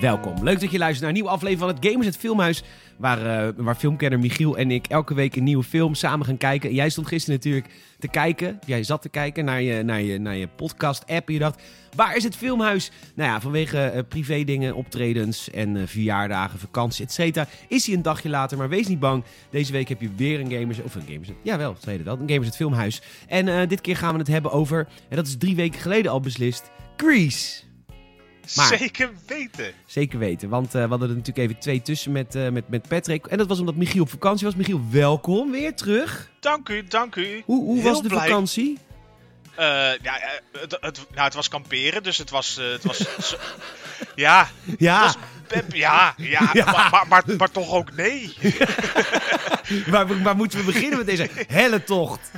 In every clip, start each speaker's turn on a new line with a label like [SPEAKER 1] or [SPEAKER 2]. [SPEAKER 1] Welkom. Leuk dat je luistert naar een nieuwe aflevering van het Gamers het Filmhuis. Waar, eh, waar filmkenner Michiel en ik elke week een nieuwe film samen gaan kijken. En jij stond gisteren natuurlijk te kijken. Jij zat te kijken naar je, naar je, naar je podcast-app. En je dacht, waar is het filmhuis? Nou ja, vanwege eh, privédingen, optredens en eh, verjaardagen, vakantie, et cetera. Is hij een dagje later, maar wees niet bang. Deze week heb je weer een Gamers... Of een Gamers... Jawel, tweede wel. Een Gamers het Filmhuis. En eh, dit keer gaan we het hebben over... En dat is drie weken geleden al beslist. Grease. Maar-
[SPEAKER 2] Zeker weten.
[SPEAKER 1] Zeker weten, want eh, we hadden er natuurlijk even twee tussen met, eh, met, met Patrick. En dat was omdat Michiel op vakantie was. Michiel, welkom weer terug.
[SPEAKER 2] Dank u, dank u.
[SPEAKER 1] Hoe, hoe
[SPEAKER 2] Heel
[SPEAKER 1] was de
[SPEAKER 2] blij.
[SPEAKER 1] vakantie?
[SPEAKER 2] Eh, ja, eh, het, het, nou, het was kamperen, dus het was. eh, het was zo- ja,
[SPEAKER 1] Ja,
[SPEAKER 2] was- pep- ja, ja,
[SPEAKER 1] Ah. Ja.
[SPEAKER 2] Maar, maar, maar, maar toch ook nee.
[SPEAKER 1] waar, waar moeten we beginnen met deze helle tocht?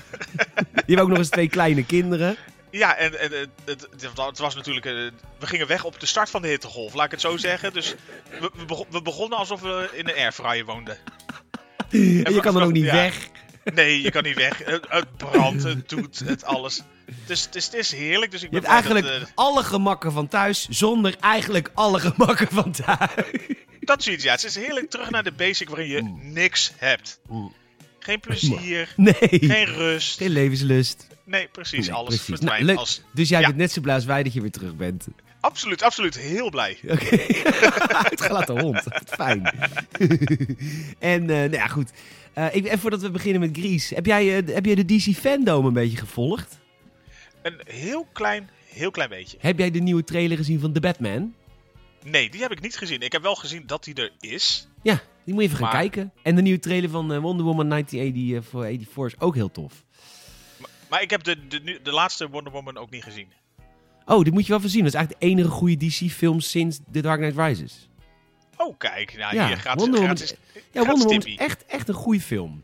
[SPEAKER 1] Je hebt ook nog eens twee kleine kinderen.
[SPEAKER 2] Ja, en, en eh, het, het, wa- het was natuurlijk. eh, we gingen weg op de start van de hittegolf, laat ik het zo zeggen. Dus we, we, begon- we begonnen alsof we in een airfryer woonden.
[SPEAKER 1] En je
[SPEAKER 2] maar-
[SPEAKER 1] kan dan ook niet
[SPEAKER 2] ja.
[SPEAKER 1] weg.
[SPEAKER 2] Nee, je kan niet weg. Het, het brandt, het doet, het alles. Dus het is, het is heerlijk. Dus ik
[SPEAKER 1] Je
[SPEAKER 2] ben
[SPEAKER 1] hebt
[SPEAKER 2] blij dat,
[SPEAKER 1] eigenlijk alle gemakken van thuis zonder eigenlijk alle gemakken van thuis.
[SPEAKER 2] Dat is iets, ja. Het is heerlijk terug naar de basic waarin je niks hebt.
[SPEAKER 1] Mm.
[SPEAKER 2] Geen plezier,
[SPEAKER 1] Nee,
[SPEAKER 2] geen rust.
[SPEAKER 1] geen levenslust.
[SPEAKER 2] Nee, precies.
[SPEAKER 1] Nee,
[SPEAKER 2] alles
[SPEAKER 1] precies. Nou,
[SPEAKER 2] verdwijnt
[SPEAKER 1] leuk.
[SPEAKER 2] als...
[SPEAKER 1] Dus jij
[SPEAKER 2] Ja.
[SPEAKER 1] bent net zo blij als wij dat je weer terug bent.
[SPEAKER 2] Absoluut, absoluut. Heel blij.
[SPEAKER 1] Oké, uitgelaten hond. Wat Fijn. en, eh, nou ja, goed. Eh, ik, en voordat we beginnen met Grease, heb jij, eh, heb jij de DC Fandom een beetje gevolgd?
[SPEAKER 2] Een heel klein, heel klein beetje.
[SPEAKER 1] Heb jij de nieuwe trailer gezien van The Batman?
[SPEAKER 2] Nee, die heb ik niet gezien. Ik heb wel gezien dat die er is.
[SPEAKER 1] Ja, die moet je even gaan
[SPEAKER 2] Maar-
[SPEAKER 1] kijken. En de nieuwe trailer van eh, Wonder Woman 1984 is ook heel tof.
[SPEAKER 2] Maar ik heb de, de, nu- de laatste Wonder Woman ook niet gezien.
[SPEAKER 1] Oh, dit moet je wel even zien. Dat is eigenlijk de enige goede DC-film sinds The Dark Knight Rises.
[SPEAKER 2] Oh, kijk. Nou,
[SPEAKER 1] Ja,
[SPEAKER 2] hier gaat
[SPEAKER 1] Wonder Woman-
[SPEAKER 2] gratis,
[SPEAKER 1] Ja,
[SPEAKER 2] gratis
[SPEAKER 1] Wonder Woman is
[SPEAKER 2] tippie.
[SPEAKER 1] echt, echt een goede film.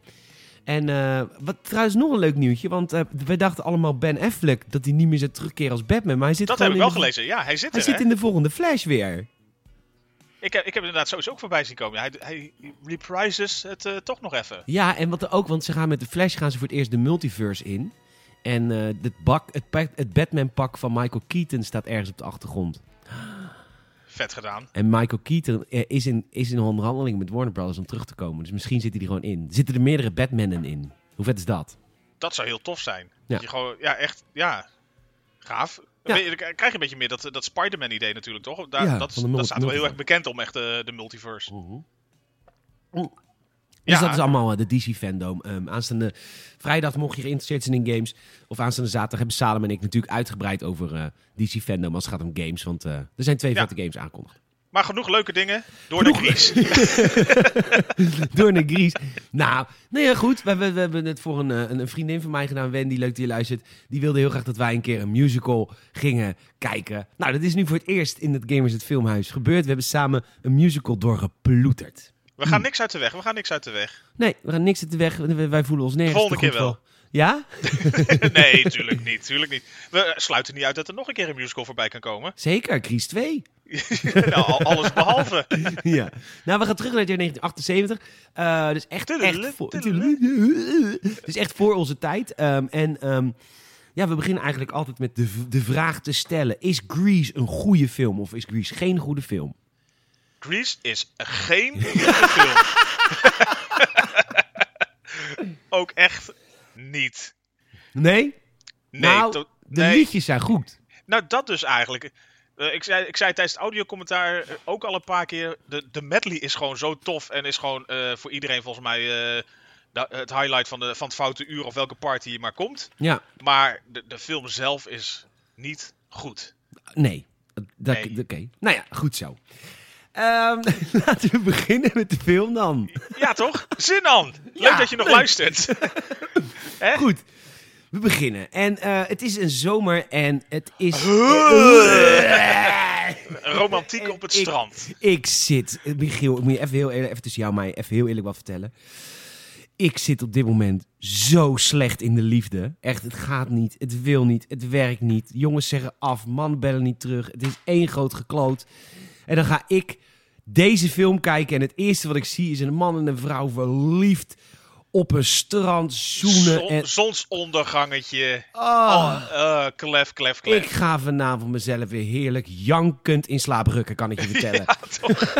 [SPEAKER 1] En eh, wat trouwens nog een leuk nieuwtje, want eh, wij dachten allemaal Ben Affleck dat hij niet meer zou terugkeren als Batman. Maar hij zit
[SPEAKER 2] Dat heb
[SPEAKER 1] gewoon
[SPEAKER 2] ik wel
[SPEAKER 1] in de-
[SPEAKER 2] gelezen. Ja, hij zit
[SPEAKER 1] Hij
[SPEAKER 2] er,
[SPEAKER 1] zit
[SPEAKER 2] hè?
[SPEAKER 1] in de volgende Flash weer.
[SPEAKER 2] Ik, heb, ik heb inderdaad sowieso ook voorbij zien komen. Hij, hij reprises het eh, toch nog even.
[SPEAKER 1] Ja, en wat er ook, want ze gaan met de Flash gaan ze voor het eerst de multiverse in. En eh het, bak, het, pak- het Batman-pak van Michael Keaton staat ergens op de achtergrond.
[SPEAKER 2] Vet gedaan.
[SPEAKER 1] En Michael Keaton eh, is, in, is in onderhandeling met Warner Brothers om terug te komen. Dus misschien zit hij er gewoon in. Er zitten er meerdere Batmannen in. Hoe vet is dat?
[SPEAKER 2] Dat zou heel tof zijn.
[SPEAKER 1] Ja.
[SPEAKER 2] Dat je gewoon, ja, echt, ja, gaaf.
[SPEAKER 1] Ja.
[SPEAKER 2] Dan ben je- dan krijg je een beetje meer dat, dat Spider-Man-idee natuurlijk, toch? Daar,
[SPEAKER 1] Ja,
[SPEAKER 2] dat, is-
[SPEAKER 1] van de multi-
[SPEAKER 2] dat staat wel heel
[SPEAKER 1] multiverse.
[SPEAKER 2] erg bekend om, echt, eh, de multiverse.
[SPEAKER 1] Dus
[SPEAKER 2] Ja.
[SPEAKER 1] dat is allemaal eh, de DC-fandom. Ehm, aanstaande vrijdag, mocht je geïnteresseerd zijn in games... of aanstaande zaterdag hebben Salem en ik natuurlijk uitgebreid over eh, DC-fandom... als het gaat om games, want eh, er zijn twee
[SPEAKER 2] Ja.
[SPEAKER 1] vette games aangekondigd.
[SPEAKER 2] Maar genoeg leuke dingen. Door de Gries.
[SPEAKER 1] Door naar Gries. Nou, nee, ja, goed. We, we, we hebben het voor een, eh, een, een vriendin van mij gedaan, Wendy. Leuk dat je luistert. Die wilde heel graag dat wij een keer een musical gingen kijken. Nou, dat is nu voor het eerst in het Gamers het Filmhuis gebeurd. We hebben samen een musical doorgeploeterd.
[SPEAKER 2] We gaan niks uit de weg, we gaan niks uit de weg.
[SPEAKER 1] Nee, we gaan niks te weg. We- Wij voelen ons nergens
[SPEAKER 2] Volgende
[SPEAKER 1] te goed
[SPEAKER 2] keer wel.
[SPEAKER 1] voor. Ja?
[SPEAKER 2] nee, tuurlijk niet, tuurlijk niet. We eh, sluiten niet uit dat er nog een keer een musical voorbij kan komen.
[SPEAKER 1] Zeker, Gries 2.
[SPEAKER 2] nou, al- alles behalve.
[SPEAKER 1] ja. Nou, we gaan terug naar het jaar 1978. Eh, dus echt, echt,
[SPEAKER 2] Tudelele,
[SPEAKER 1] voor,
[SPEAKER 2] tudelele.
[SPEAKER 1] Tudelele. dus echt voor onze tijd. Ehm, en ehm, ja, we beginnen eigenlijk altijd met de, v- de vraag te stellen: is Grease een goede film of is Grease geen goede film?
[SPEAKER 2] Grease is geen goede film. Ook echt niet.
[SPEAKER 1] Nee?
[SPEAKER 2] Nee,
[SPEAKER 1] nou,
[SPEAKER 2] to-
[SPEAKER 1] de
[SPEAKER 2] nee.
[SPEAKER 1] liedjes zijn goed.
[SPEAKER 2] Nou, dat dus eigenlijk. Eh, ik, zei, ik zei tijdens het audiocommentaar eh, ook al een paar keer. De, de medley is gewoon zo tof. En is gewoon eh, voor iedereen volgens mij eh, da- het highlight van, de, van het foute uur of welke party je maar komt.
[SPEAKER 1] Ja,
[SPEAKER 2] Maar de, de film zelf is niet goed.
[SPEAKER 1] nee. Dat-
[SPEAKER 2] Nee.
[SPEAKER 1] Oké. Nou ja, goed zo. Ehm, laten we beginnen met de film dan.
[SPEAKER 2] Ja, toch? Zin aan! Leuk
[SPEAKER 1] Ja,
[SPEAKER 2] dat je nog
[SPEAKER 1] leuk.
[SPEAKER 2] luistert. Hè?
[SPEAKER 1] Goed. We beginnen. En eh, het is een zomer en het is...
[SPEAKER 2] Romantiek op het
[SPEAKER 1] Ik-
[SPEAKER 2] strand.
[SPEAKER 1] Ik zit, Michiel, ik moet je even heel eerlijk, even tussen jou en mij, even heel eerlijk wat vertellen. Ik zit op dit moment zo slecht in de liefde. Echt, het gaat niet, het wil niet, het werkt niet. Jongens zeggen af, man bellen niet terug. Het is één groot gekloot. En dan ga ik deze film kijken en het eerste wat ik zie is een man en een vrouw verliefd op een strand zoenen.
[SPEAKER 2] Zon-
[SPEAKER 1] En,
[SPEAKER 2] Zonsondergangetje.
[SPEAKER 1] oh,
[SPEAKER 2] Oh, eh, klef, klef, klef.
[SPEAKER 1] ik ga vanavond mezelf weer heerlijk jankend in slaap rukken, kan ik je vertellen.
[SPEAKER 2] Ja, toch.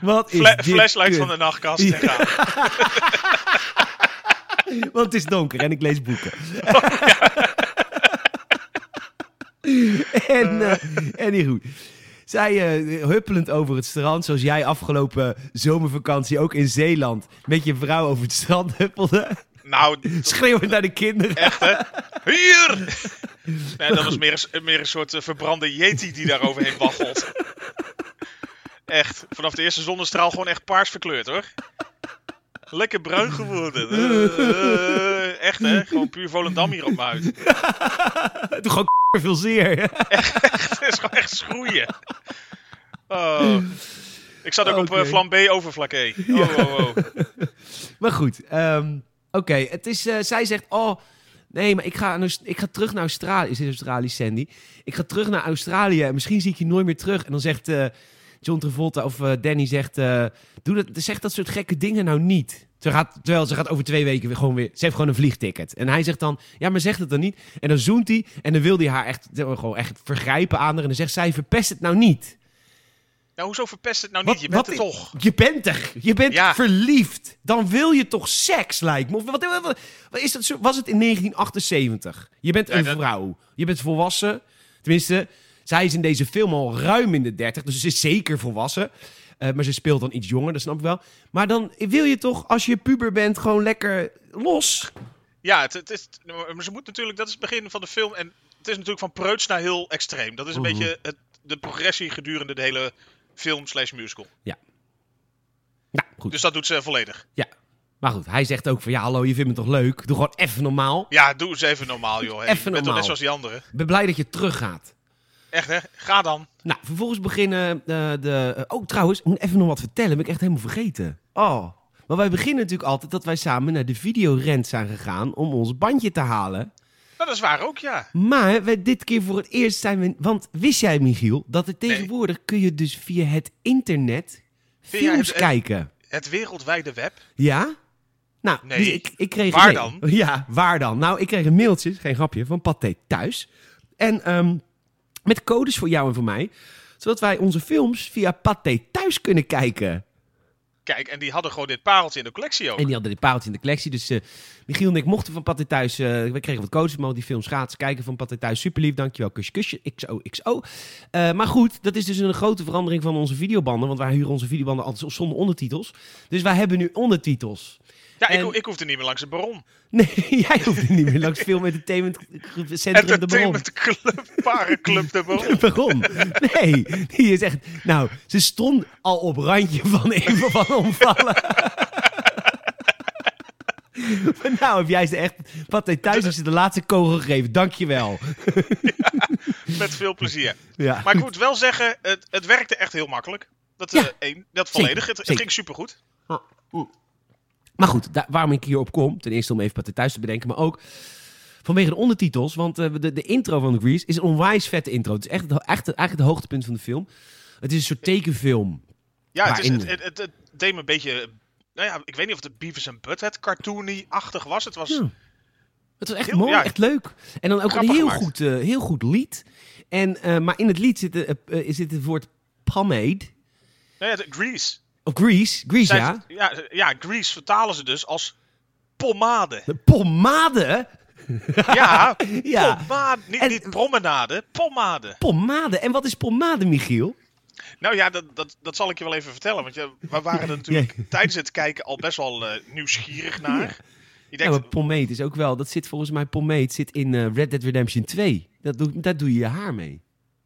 [SPEAKER 1] Wat is
[SPEAKER 2] Fla-
[SPEAKER 1] dit
[SPEAKER 2] flashlight
[SPEAKER 1] kut?
[SPEAKER 2] van de nachtkast.
[SPEAKER 1] Ja.
[SPEAKER 2] en gaan.
[SPEAKER 1] Want het is donker en ik lees boeken.
[SPEAKER 2] Oh,
[SPEAKER 1] en, eh anywho. Zij eh, huppelend over het strand, zoals jij afgelopen zomervakantie ook in Zeeland met je vrouw over het strand huppelde.
[SPEAKER 2] Nou, t-
[SPEAKER 1] Schreeuwend naar de kinderen.
[SPEAKER 2] echt hè. Hier! Nee, dat was meer een, s- meer een soort eh, verbrande yeti die daar overheen waggelt. Echt. Vanaf de eerste zonnestraal gewoon echt paars verkleurd hoor. Lekker bruin geworden. Eh, eh, echt hè. Gewoon puur Volendam hier op mijn huid.
[SPEAKER 1] Toen gewoon veel zeer.
[SPEAKER 2] Het is gewoon echt schroeien. Oh. Ik zat ook op
[SPEAKER 1] Oké.
[SPEAKER 2] eh, flambé over flaké. Oh, oh, oh.
[SPEAKER 1] Maar goed, ehm, oké. Het is, eh, zij zegt, oh, nee, maar ik ga, naar- ik ga terug naar Australië. Is dit Australisch, Sandy? Ik ga terug naar Australië en misschien zie ik je nooit meer terug. En dan zegt eh, John Travolta of eh, Danny zegt, eh, doe dat, zeg dat soort gekke dingen nou niet. Ze gaat, terwijl ze gaat over twee weken weer gewoon weer... Ze heeft gewoon een vliegticket. En hij zegt dan, ja, maar zeg dat dan niet. En dan zoent hij en dan wil hij haar echt, gewoon echt vergrijpen aan haar. En dan zegt zij, verpest het nou niet.
[SPEAKER 2] Nou, hoezo verpest het nou
[SPEAKER 1] Wat-
[SPEAKER 2] niet? Je bent
[SPEAKER 1] wat
[SPEAKER 2] er
[SPEAKER 1] i-
[SPEAKER 2] toch.
[SPEAKER 1] Je bent er. Je bent
[SPEAKER 2] Ja.
[SPEAKER 1] verliefd. Dan wil je toch seks, lijkt me. Of Wat, wat- wat- wat is dat, zo- was het in 1978? Je bent
[SPEAKER 2] Ja,
[SPEAKER 1] een
[SPEAKER 2] dat-
[SPEAKER 1] vrouw. Je bent volwassen. Tenminste, zij is in deze film al ruim in de 30. Dus ze is zeker volwassen. Eh, maar ze speelt dan iets jonger, dat snap ik wel. Maar dan wil je toch, als je puber bent, gewoon lekker los.
[SPEAKER 2] Ja, het, het is, maar ze moet natuurlijk, dat is het begin van de film. En het is natuurlijk van preuts naar heel extreem. Dat is een
[SPEAKER 1] Mhm.
[SPEAKER 2] beetje het, de progressie gedurende de hele film slash musical.
[SPEAKER 1] Nou, goed.
[SPEAKER 2] Dus dat doet ze volledig.
[SPEAKER 1] Ja. Maar goed, hij zegt ook van ja, hallo, je vindt me toch leuk? Doe gewoon even normaal.
[SPEAKER 2] Ja, doe eens even normaal, joh. Hey,
[SPEAKER 1] Even
[SPEAKER 2] je bent
[SPEAKER 1] normaal.
[SPEAKER 2] toch net zoals die anderen.
[SPEAKER 1] Ik ben blij dat je teruggaat.
[SPEAKER 2] Echt, hè? Ga dan.
[SPEAKER 1] Nou, vervolgens beginnen eh, de... eh, Oh, trouwens, ik moet even nog wat vertellen. Ben ik echt helemaal vergeten. Oh. Maar wij beginnen natuurlijk altijd dat wij samen naar de videorent zijn gegaan om ons bandje te halen.
[SPEAKER 2] Nou, dat is waar ook, ja.
[SPEAKER 1] Maar wij dit keer voor het eerst zijn we... Want wist jij, Michiel, dat er tegenwoordig kun je dus via het internet
[SPEAKER 2] Via
[SPEAKER 1] films
[SPEAKER 2] het-
[SPEAKER 1] kijken?
[SPEAKER 2] Het wereldwijde web.
[SPEAKER 1] Ja? Nou,
[SPEAKER 2] Nee.
[SPEAKER 1] dus ik, ik kreeg...
[SPEAKER 2] Waar
[SPEAKER 1] nee.
[SPEAKER 2] dan?
[SPEAKER 1] Ja, waar dan? Nou, ik kreeg een mailtje, geen grapje, van Pathé Thuis. En ehm, met codes voor jou en voor mij. Zodat wij onze films via Pathé Thuis kunnen kijken.
[SPEAKER 2] Kijk, en die hadden gewoon dit pareltje in de collectie ook.
[SPEAKER 1] En die hadden dit pareltje in de collectie. Dus eh, Michiel en ik mochten van Pathé Thuis... eh, we kregen wat codes, we mogen die films gratis kijken van Pathé Thuis. Super lief, dankjewel. Kusje, kusje. XO, XO. Eh, maar goed, dat is dus een grote verandering van onze videobanden. Want wij huren onze videobanden altijd zonder ondertitels. Dus wij hebben nu ondertitels.
[SPEAKER 2] Ja, ik,
[SPEAKER 1] en-
[SPEAKER 2] ho- ik hoefde niet meer langs de baron.
[SPEAKER 1] Nee, jij hoeft niet meer langs Film Entertainment Centrum de Bron.
[SPEAKER 2] Entertainment Club, Parenclub de Baron.
[SPEAKER 1] Waarom? Nee, die is echt... Nou, ze stond al op randje van even van omvallen. Maar nou heb jij ze echt... Wat hij thuis heeft ze de laatste kogel gegeven. Dankjewel.
[SPEAKER 2] Met veel plezier.
[SPEAKER 1] Ja.
[SPEAKER 2] Maar ik moet wel zeggen, het, het werkte echt heel makkelijk. Dat, eh
[SPEAKER 1] Ja.
[SPEAKER 2] één, dat volledig. Het, het
[SPEAKER 1] zeker.
[SPEAKER 2] ging supergoed.
[SPEAKER 1] Maar goed, daar- waarom ik hierop kom, ten eerste om even Pathé Thuis te bedenken, maar ook vanwege de ondertitels, want eh, de, de intro van Grease is een onwijs vette intro. Het is echt, het ho- echt eigenlijk het hoogtepunt van de film. Het is een soort tekenfilm.
[SPEAKER 2] Ja, het, is,
[SPEAKER 1] Waarin?
[SPEAKER 2] het, het, het, het deed me een beetje... Nou ja, ik weet niet of het Beavis en Butthead cartoony-achtig was. Het was... nou
[SPEAKER 1] Ja. Het was echt
[SPEAKER 2] Heel-
[SPEAKER 1] mooi,
[SPEAKER 2] ja.
[SPEAKER 1] echt leuk. En dan ook een
[SPEAKER 2] Grappig
[SPEAKER 1] heel
[SPEAKER 2] gemaakt.
[SPEAKER 1] goed, eh, heel goed lied. En, eh, maar in het lied zit, eh, eh, zit het woord pomade.
[SPEAKER 2] Nou ja, de- Grease.
[SPEAKER 1] Of Grease, Grease
[SPEAKER 2] Zij-
[SPEAKER 1] ja.
[SPEAKER 2] ja. eh, Ja, Grease vertalen ze dus als pomade.
[SPEAKER 1] Pomade?
[SPEAKER 2] Ja,
[SPEAKER 1] Ja.
[SPEAKER 2] pomade. Niet,
[SPEAKER 1] En-
[SPEAKER 2] niet promenade, pomade.
[SPEAKER 1] Pomade. En wat is pomade, Michiel?
[SPEAKER 2] Nou ja, dat, dat, dat zal ik je wel even vertellen. Want ja, we waren er natuurlijk tijdens het kijken al best wel eh, nieuwsgierig naar. Je
[SPEAKER 1] Ja,
[SPEAKER 2] denkt,
[SPEAKER 1] maar Nou, pomade is ook wel... Dat zit volgens mij... Pomade zit in eh, Red Dead Redemption 2. Dat doe, daar doe je je haar mee.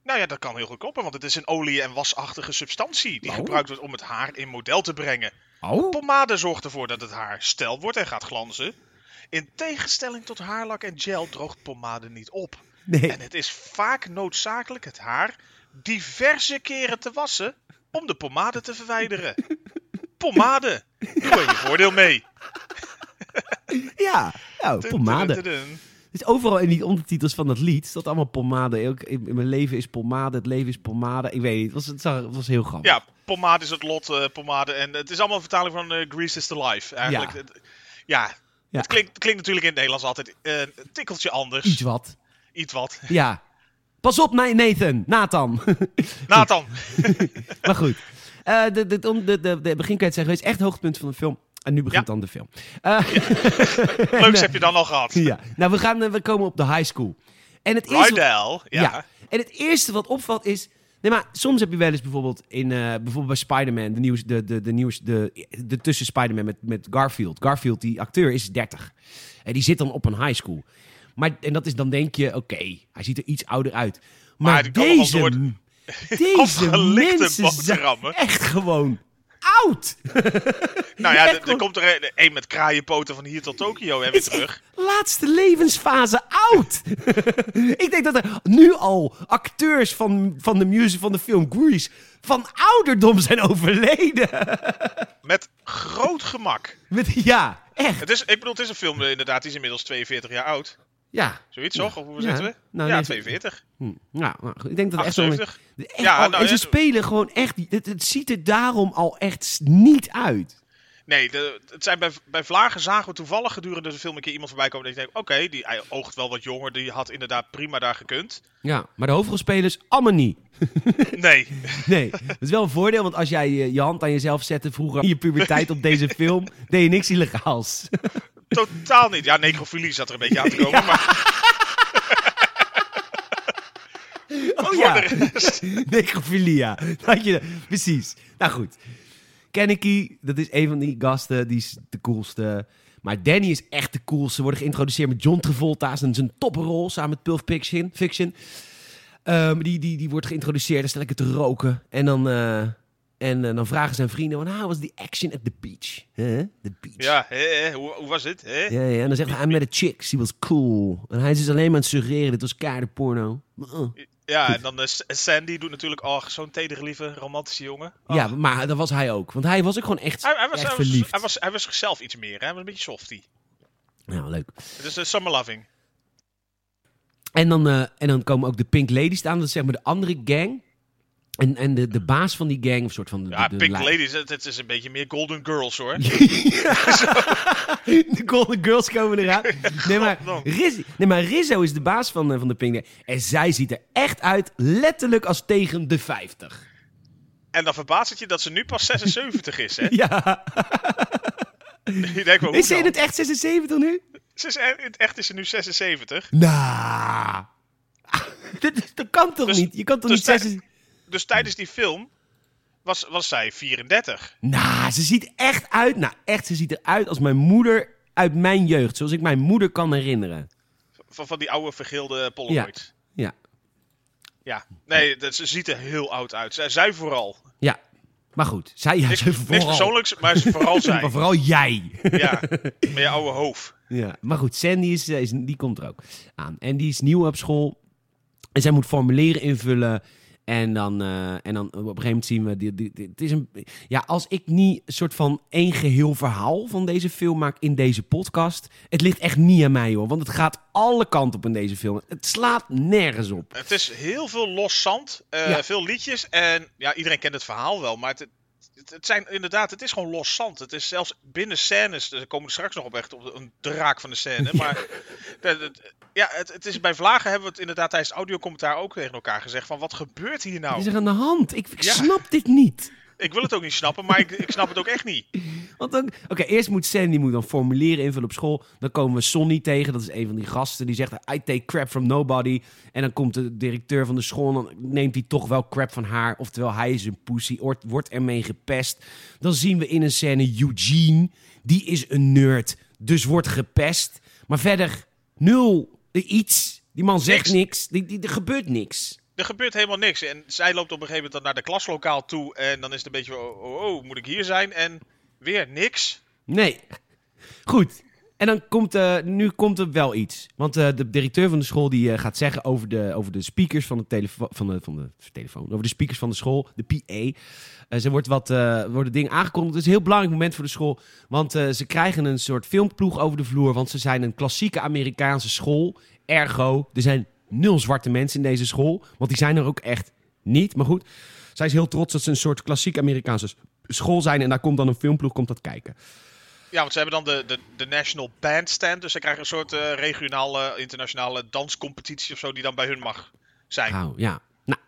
[SPEAKER 2] Nou ja, dat kan heel goed kloppen, want het is een olie- en wasachtige substantie die
[SPEAKER 1] Oh.
[SPEAKER 2] gebruikt wordt om het haar in model te brengen.
[SPEAKER 1] Oh?
[SPEAKER 2] Pomade zorgt ervoor dat het haar stel wordt en gaat glanzen. In tegenstelling tot haarlak en gel droogt pomade niet op.
[SPEAKER 1] Nee.
[SPEAKER 2] En het is vaak noodzakelijk het haar diverse keren te wassen om de pomade te verwijderen. Pomade, doe er je voordeel mee.
[SPEAKER 1] Ja. Nou, pomade.
[SPEAKER 2] Dun, dun, dun, dun.
[SPEAKER 1] Dus overal in die ondertitels van dat lied staat allemaal pomade. Ook in, in mijn leven is pomade, het leven is pomade. Ik weet niet, het was, het zag- het was heel grappig.
[SPEAKER 2] Ja, pomade is het lot, eh, pomade. En het is allemaal een vertaling van eh, Grease is the Life. Eigenlijk.
[SPEAKER 1] Ja.
[SPEAKER 2] Het- Ja,
[SPEAKER 1] Ja.
[SPEAKER 2] Het, klinkt, het klinkt natuurlijk in het Nederlands altijd eh, een tikkeltje anders.
[SPEAKER 1] Iets wat.
[SPEAKER 2] Iets wat.
[SPEAKER 1] Ja. Pas op, Na- Nathan. Nathan.
[SPEAKER 2] Nathan,
[SPEAKER 1] maar goed. Eh, de, de, om de, de, de beginkwet zijn geweest. Echt het hoogtepunt van de film. En nu begint
[SPEAKER 2] Ja.
[SPEAKER 1] dan de film. Eh,
[SPEAKER 2] leuks heb je dan al gehad.
[SPEAKER 1] ja. Nou, we, gaan, eh, we komen op de high school. En het eerste...
[SPEAKER 2] Rydell, ja.
[SPEAKER 1] Ja. En het eerste wat opvalt is. Nee, maar soms heb je wel eens bijvoorbeeld, in, eh, bijvoorbeeld bij Spider-Man, de, nieuws, de, de, de, nieuws, de, de tussen Spider-Man met, met Garfield. Garfield, die acteur, is 30. En die zit dan op een high school. Maar, en dat is dan denk je, oké, hij ziet er iets ouder uit. Maar,
[SPEAKER 2] Maar die kan nogal
[SPEAKER 1] deze,
[SPEAKER 2] door
[SPEAKER 1] deze
[SPEAKER 2] afgelikte
[SPEAKER 1] mensen zijn
[SPEAKER 2] boterhammen.
[SPEAKER 1] echt gewoon oud.
[SPEAKER 2] Nou ja,
[SPEAKER 1] Echt
[SPEAKER 2] er- er,
[SPEAKER 1] gewoon-
[SPEAKER 2] komt er een, een met kraaienpoten van hier tot Tokio en weer
[SPEAKER 1] is
[SPEAKER 2] terug.
[SPEAKER 1] echt Laatste levensfase oud. ik denk dat er nu al acteurs van, van de music van de film Grease van ouderdom zijn overleden.
[SPEAKER 2] Met groot gemak.
[SPEAKER 1] Met, ja, echt.
[SPEAKER 2] Het is, ik bedoel, het is een film eh, inderdaad, die is inmiddels 42 jaar oud.
[SPEAKER 1] Ja.
[SPEAKER 2] Zoiets, toch? Of hoe
[SPEAKER 1] Ja.
[SPEAKER 2] zitten we?
[SPEAKER 1] Nou,
[SPEAKER 2] ja,
[SPEAKER 1] nee,
[SPEAKER 2] 42.
[SPEAKER 1] Hm, Nou, nou, goed, ik denk dat het echt wel...
[SPEAKER 2] 78.
[SPEAKER 1] Echt
[SPEAKER 2] Ja,
[SPEAKER 1] al-
[SPEAKER 2] nou,
[SPEAKER 1] en ze
[SPEAKER 2] ja.
[SPEAKER 1] spelen gewoon echt... Het, het ziet er daarom al echt s- niet uit.
[SPEAKER 2] Nee, de, het zijn bij, bij Vlagen zagen we toevallig gedurende de film een keer iemand voorbij komen. Dat je denkt, oké, die hij oogt wel wat jonger. Die had inderdaad prima daar gekund.
[SPEAKER 1] Ja, maar de hoofdrolspelers allemaal niet.
[SPEAKER 2] Nee,
[SPEAKER 1] Nee, dat is wel een voordeel, want als jij eh, je, je hand aan jezelf zette vroeger in je puberteit op deze film, deed je niks illegaals.
[SPEAKER 2] totaal niet. Ja, necrofilie zat er een beetje aan te komen. Maar
[SPEAKER 1] Oh
[SPEAKER 2] voor
[SPEAKER 1] ja,
[SPEAKER 2] de rest...
[SPEAKER 1] necrophilia. Dat je, precies. Nou goed. Kennedy, dat is een van die gasten, die is de coolste. Maar Danny is echt de coolste. Ze worden geïntroduceerd met John Travolta en zijn toppenrol samen met Pulp Fiction. Fiction. Ehm, die, die, die wordt geïntroduceerd, dan stel ik het te roken. En dan, eh, en, eh, dan vragen zijn vrienden, van, how was the action at the beach? Huh? The beach.
[SPEAKER 2] Ja, hè, hè, hoe, hoe was het? Hè?
[SPEAKER 1] Ja, ja, en dan zegt hij, I met a chick, she was cool. En hij is dus alleen maar aan het suggereren, dit was keiharde porno. Uh.
[SPEAKER 2] Ja, en dan eh, S- Sandy doet natuurlijk, oh, zo'n tedere lieve, romantische jongen. Oh.
[SPEAKER 1] Ja, maar dat was hij ook. Want hij was ook gewoon echt,
[SPEAKER 2] Hij, hij, was,
[SPEAKER 1] echt
[SPEAKER 2] hij, was,
[SPEAKER 1] verliefd.
[SPEAKER 2] hij, was, hij was zichzelf iets meer, hè? hij was een beetje softie.
[SPEAKER 1] Nou, leuk.
[SPEAKER 2] Het is eh, Summer Loving.
[SPEAKER 1] En dan, eh, en dan komen ook de Pink Ladies staan. Dat is zeg maar de andere gang. En, en de, de baas van die gang, of soort van... De,
[SPEAKER 2] Ja,
[SPEAKER 1] de, de
[SPEAKER 2] Pink
[SPEAKER 1] lei-
[SPEAKER 2] Ladies, het, het is een beetje meer Golden Girls hoor.
[SPEAKER 1] de Golden Girls komen eraan. Nee maar,
[SPEAKER 2] Goddank.
[SPEAKER 1] Rizzo, nee, maar Rizzo is de baas van, eh, van de Pink Ladies. En zij ziet er echt uit, letterlijk als tegen de 50.
[SPEAKER 2] En dan verbaast het je dat ze nu pas 76 is, hè?
[SPEAKER 1] Ja.
[SPEAKER 2] Je denkt, maar hoe
[SPEAKER 1] Is ze in
[SPEAKER 2] dan?
[SPEAKER 1] het echt 76 nu?
[SPEAKER 2] Ze is, in het echt is ze nu 76.
[SPEAKER 1] Nou. Dit is- dat kan toch
[SPEAKER 2] Dus-
[SPEAKER 1] niet? Je kan toch
[SPEAKER 2] dus
[SPEAKER 1] niet
[SPEAKER 2] zij-
[SPEAKER 1] 76...
[SPEAKER 2] Dus tijdens die film was, was zij 34.
[SPEAKER 1] Nou, ze ziet echt uit. Nou, echt, ze ziet eruit als mijn moeder uit mijn jeugd. Zoals ik mijn moeder kan herinneren.
[SPEAKER 2] Van, van die oude vergeelde Polaroid.
[SPEAKER 1] Ja.
[SPEAKER 2] Ja. Nee, dat, ze ziet er heel oud uit. Zij, zij vooral.
[SPEAKER 1] Ja. Maar goed, zij ja,
[SPEAKER 2] Niks,
[SPEAKER 1] ze
[SPEAKER 2] niks
[SPEAKER 1] vooral.
[SPEAKER 2] persoonlijks, maar ze vooral
[SPEAKER 1] Maar
[SPEAKER 2] zij.
[SPEAKER 1] vooral jij.
[SPEAKER 2] Ja, met je oude hoofd.
[SPEAKER 1] ja. Maar goed, Sandy is, eh, is, die komt er ook aan. En die is nieuw op school. En zij moet formulieren invullen. En dan, eh, en dan op een gegeven moment zien we... Die, die, die- het is een, ja, als ik niet een soort van één geheel verhaal van deze film maak in deze podcast... Het ligt echt niet aan mij, hoor. Want het gaat alle kanten op in deze film. Het slaat nergens op.
[SPEAKER 2] Het is heel veel los zand, eh,
[SPEAKER 1] Ja.
[SPEAKER 2] veel liedjes en ja, iedereen kent het verhaal wel, maar het, het, het zijn inderdaad, het is gewoon los zand. Het is zelfs binnen scènes, daar komen we straks nog op echt op de- een draak van de scène, maar dat- dat- ja, het, het is bij Vlagen hebben we het inderdaad tijdens het audiocommentaar ook tegen elkaar gezegd van wat gebeurt hier
[SPEAKER 1] Wat
[SPEAKER 2] nou?
[SPEAKER 1] is er aan de hand? Ik, ik
[SPEAKER 2] Ja.
[SPEAKER 1] snap dit niet.
[SPEAKER 2] Ik wil het ook niet snappen, maar ik, ik snap het ook echt niet.
[SPEAKER 1] Want dan, oké, eerst moet Sandy moet dan formulieren invullen op school. Dan komen we Sonny tegen, dat is een van die gasten. Die zegt, I take crap from nobody. En dan komt de directeur van de school en dan neemt hij toch wel crap van haar. Oftewel, hij is een pussy, wordt- wordt ermee gepest. Dan zien we in een scène Eugene, die is een nerd, dus wordt gepest. Maar verder, nul iets. Die man zegt niks,
[SPEAKER 2] Niks.
[SPEAKER 1] Die, die, er gebeurt niks.
[SPEAKER 2] Er gebeurt helemaal niks en zij loopt op een gegeven moment dan naar de klaslokaal toe en dan is het een beetje, oh, oh, oh, moet ik hier zijn? En weer niks.
[SPEAKER 1] Nee. Goed. En dan komt, eh, nu komt er wel iets. Want eh, de directeur van de school die eh, gaat zeggen over de, over de speakers van de, telefo- van, de, van de telefoon. Over de speakers van de school, de PA. Eh, ze wordt wat eh worden dingen aangekondigd. Het is een heel belangrijk moment voor de school. Want eh, ze krijgen een soort filmploeg over de vloer. Want ze zijn een klassieke Amerikaanse school. Ergo, er zijn nul zwarte mensen in deze school. Want die zijn er ook echt niet. Maar goed, zij is heel trots dat ze een soort klassiek Amerikaanse s- school zijn. En daar komt dan een filmploeg komt dat kijken.
[SPEAKER 2] Ja, want ze hebben dan de, de, de National Bandstand. Dus ze krijgen een soort eh, regionale, internationale danscompetitie of zo, die dan bij hun mag zijn. Daar
[SPEAKER 1] Nou, ja. Nou,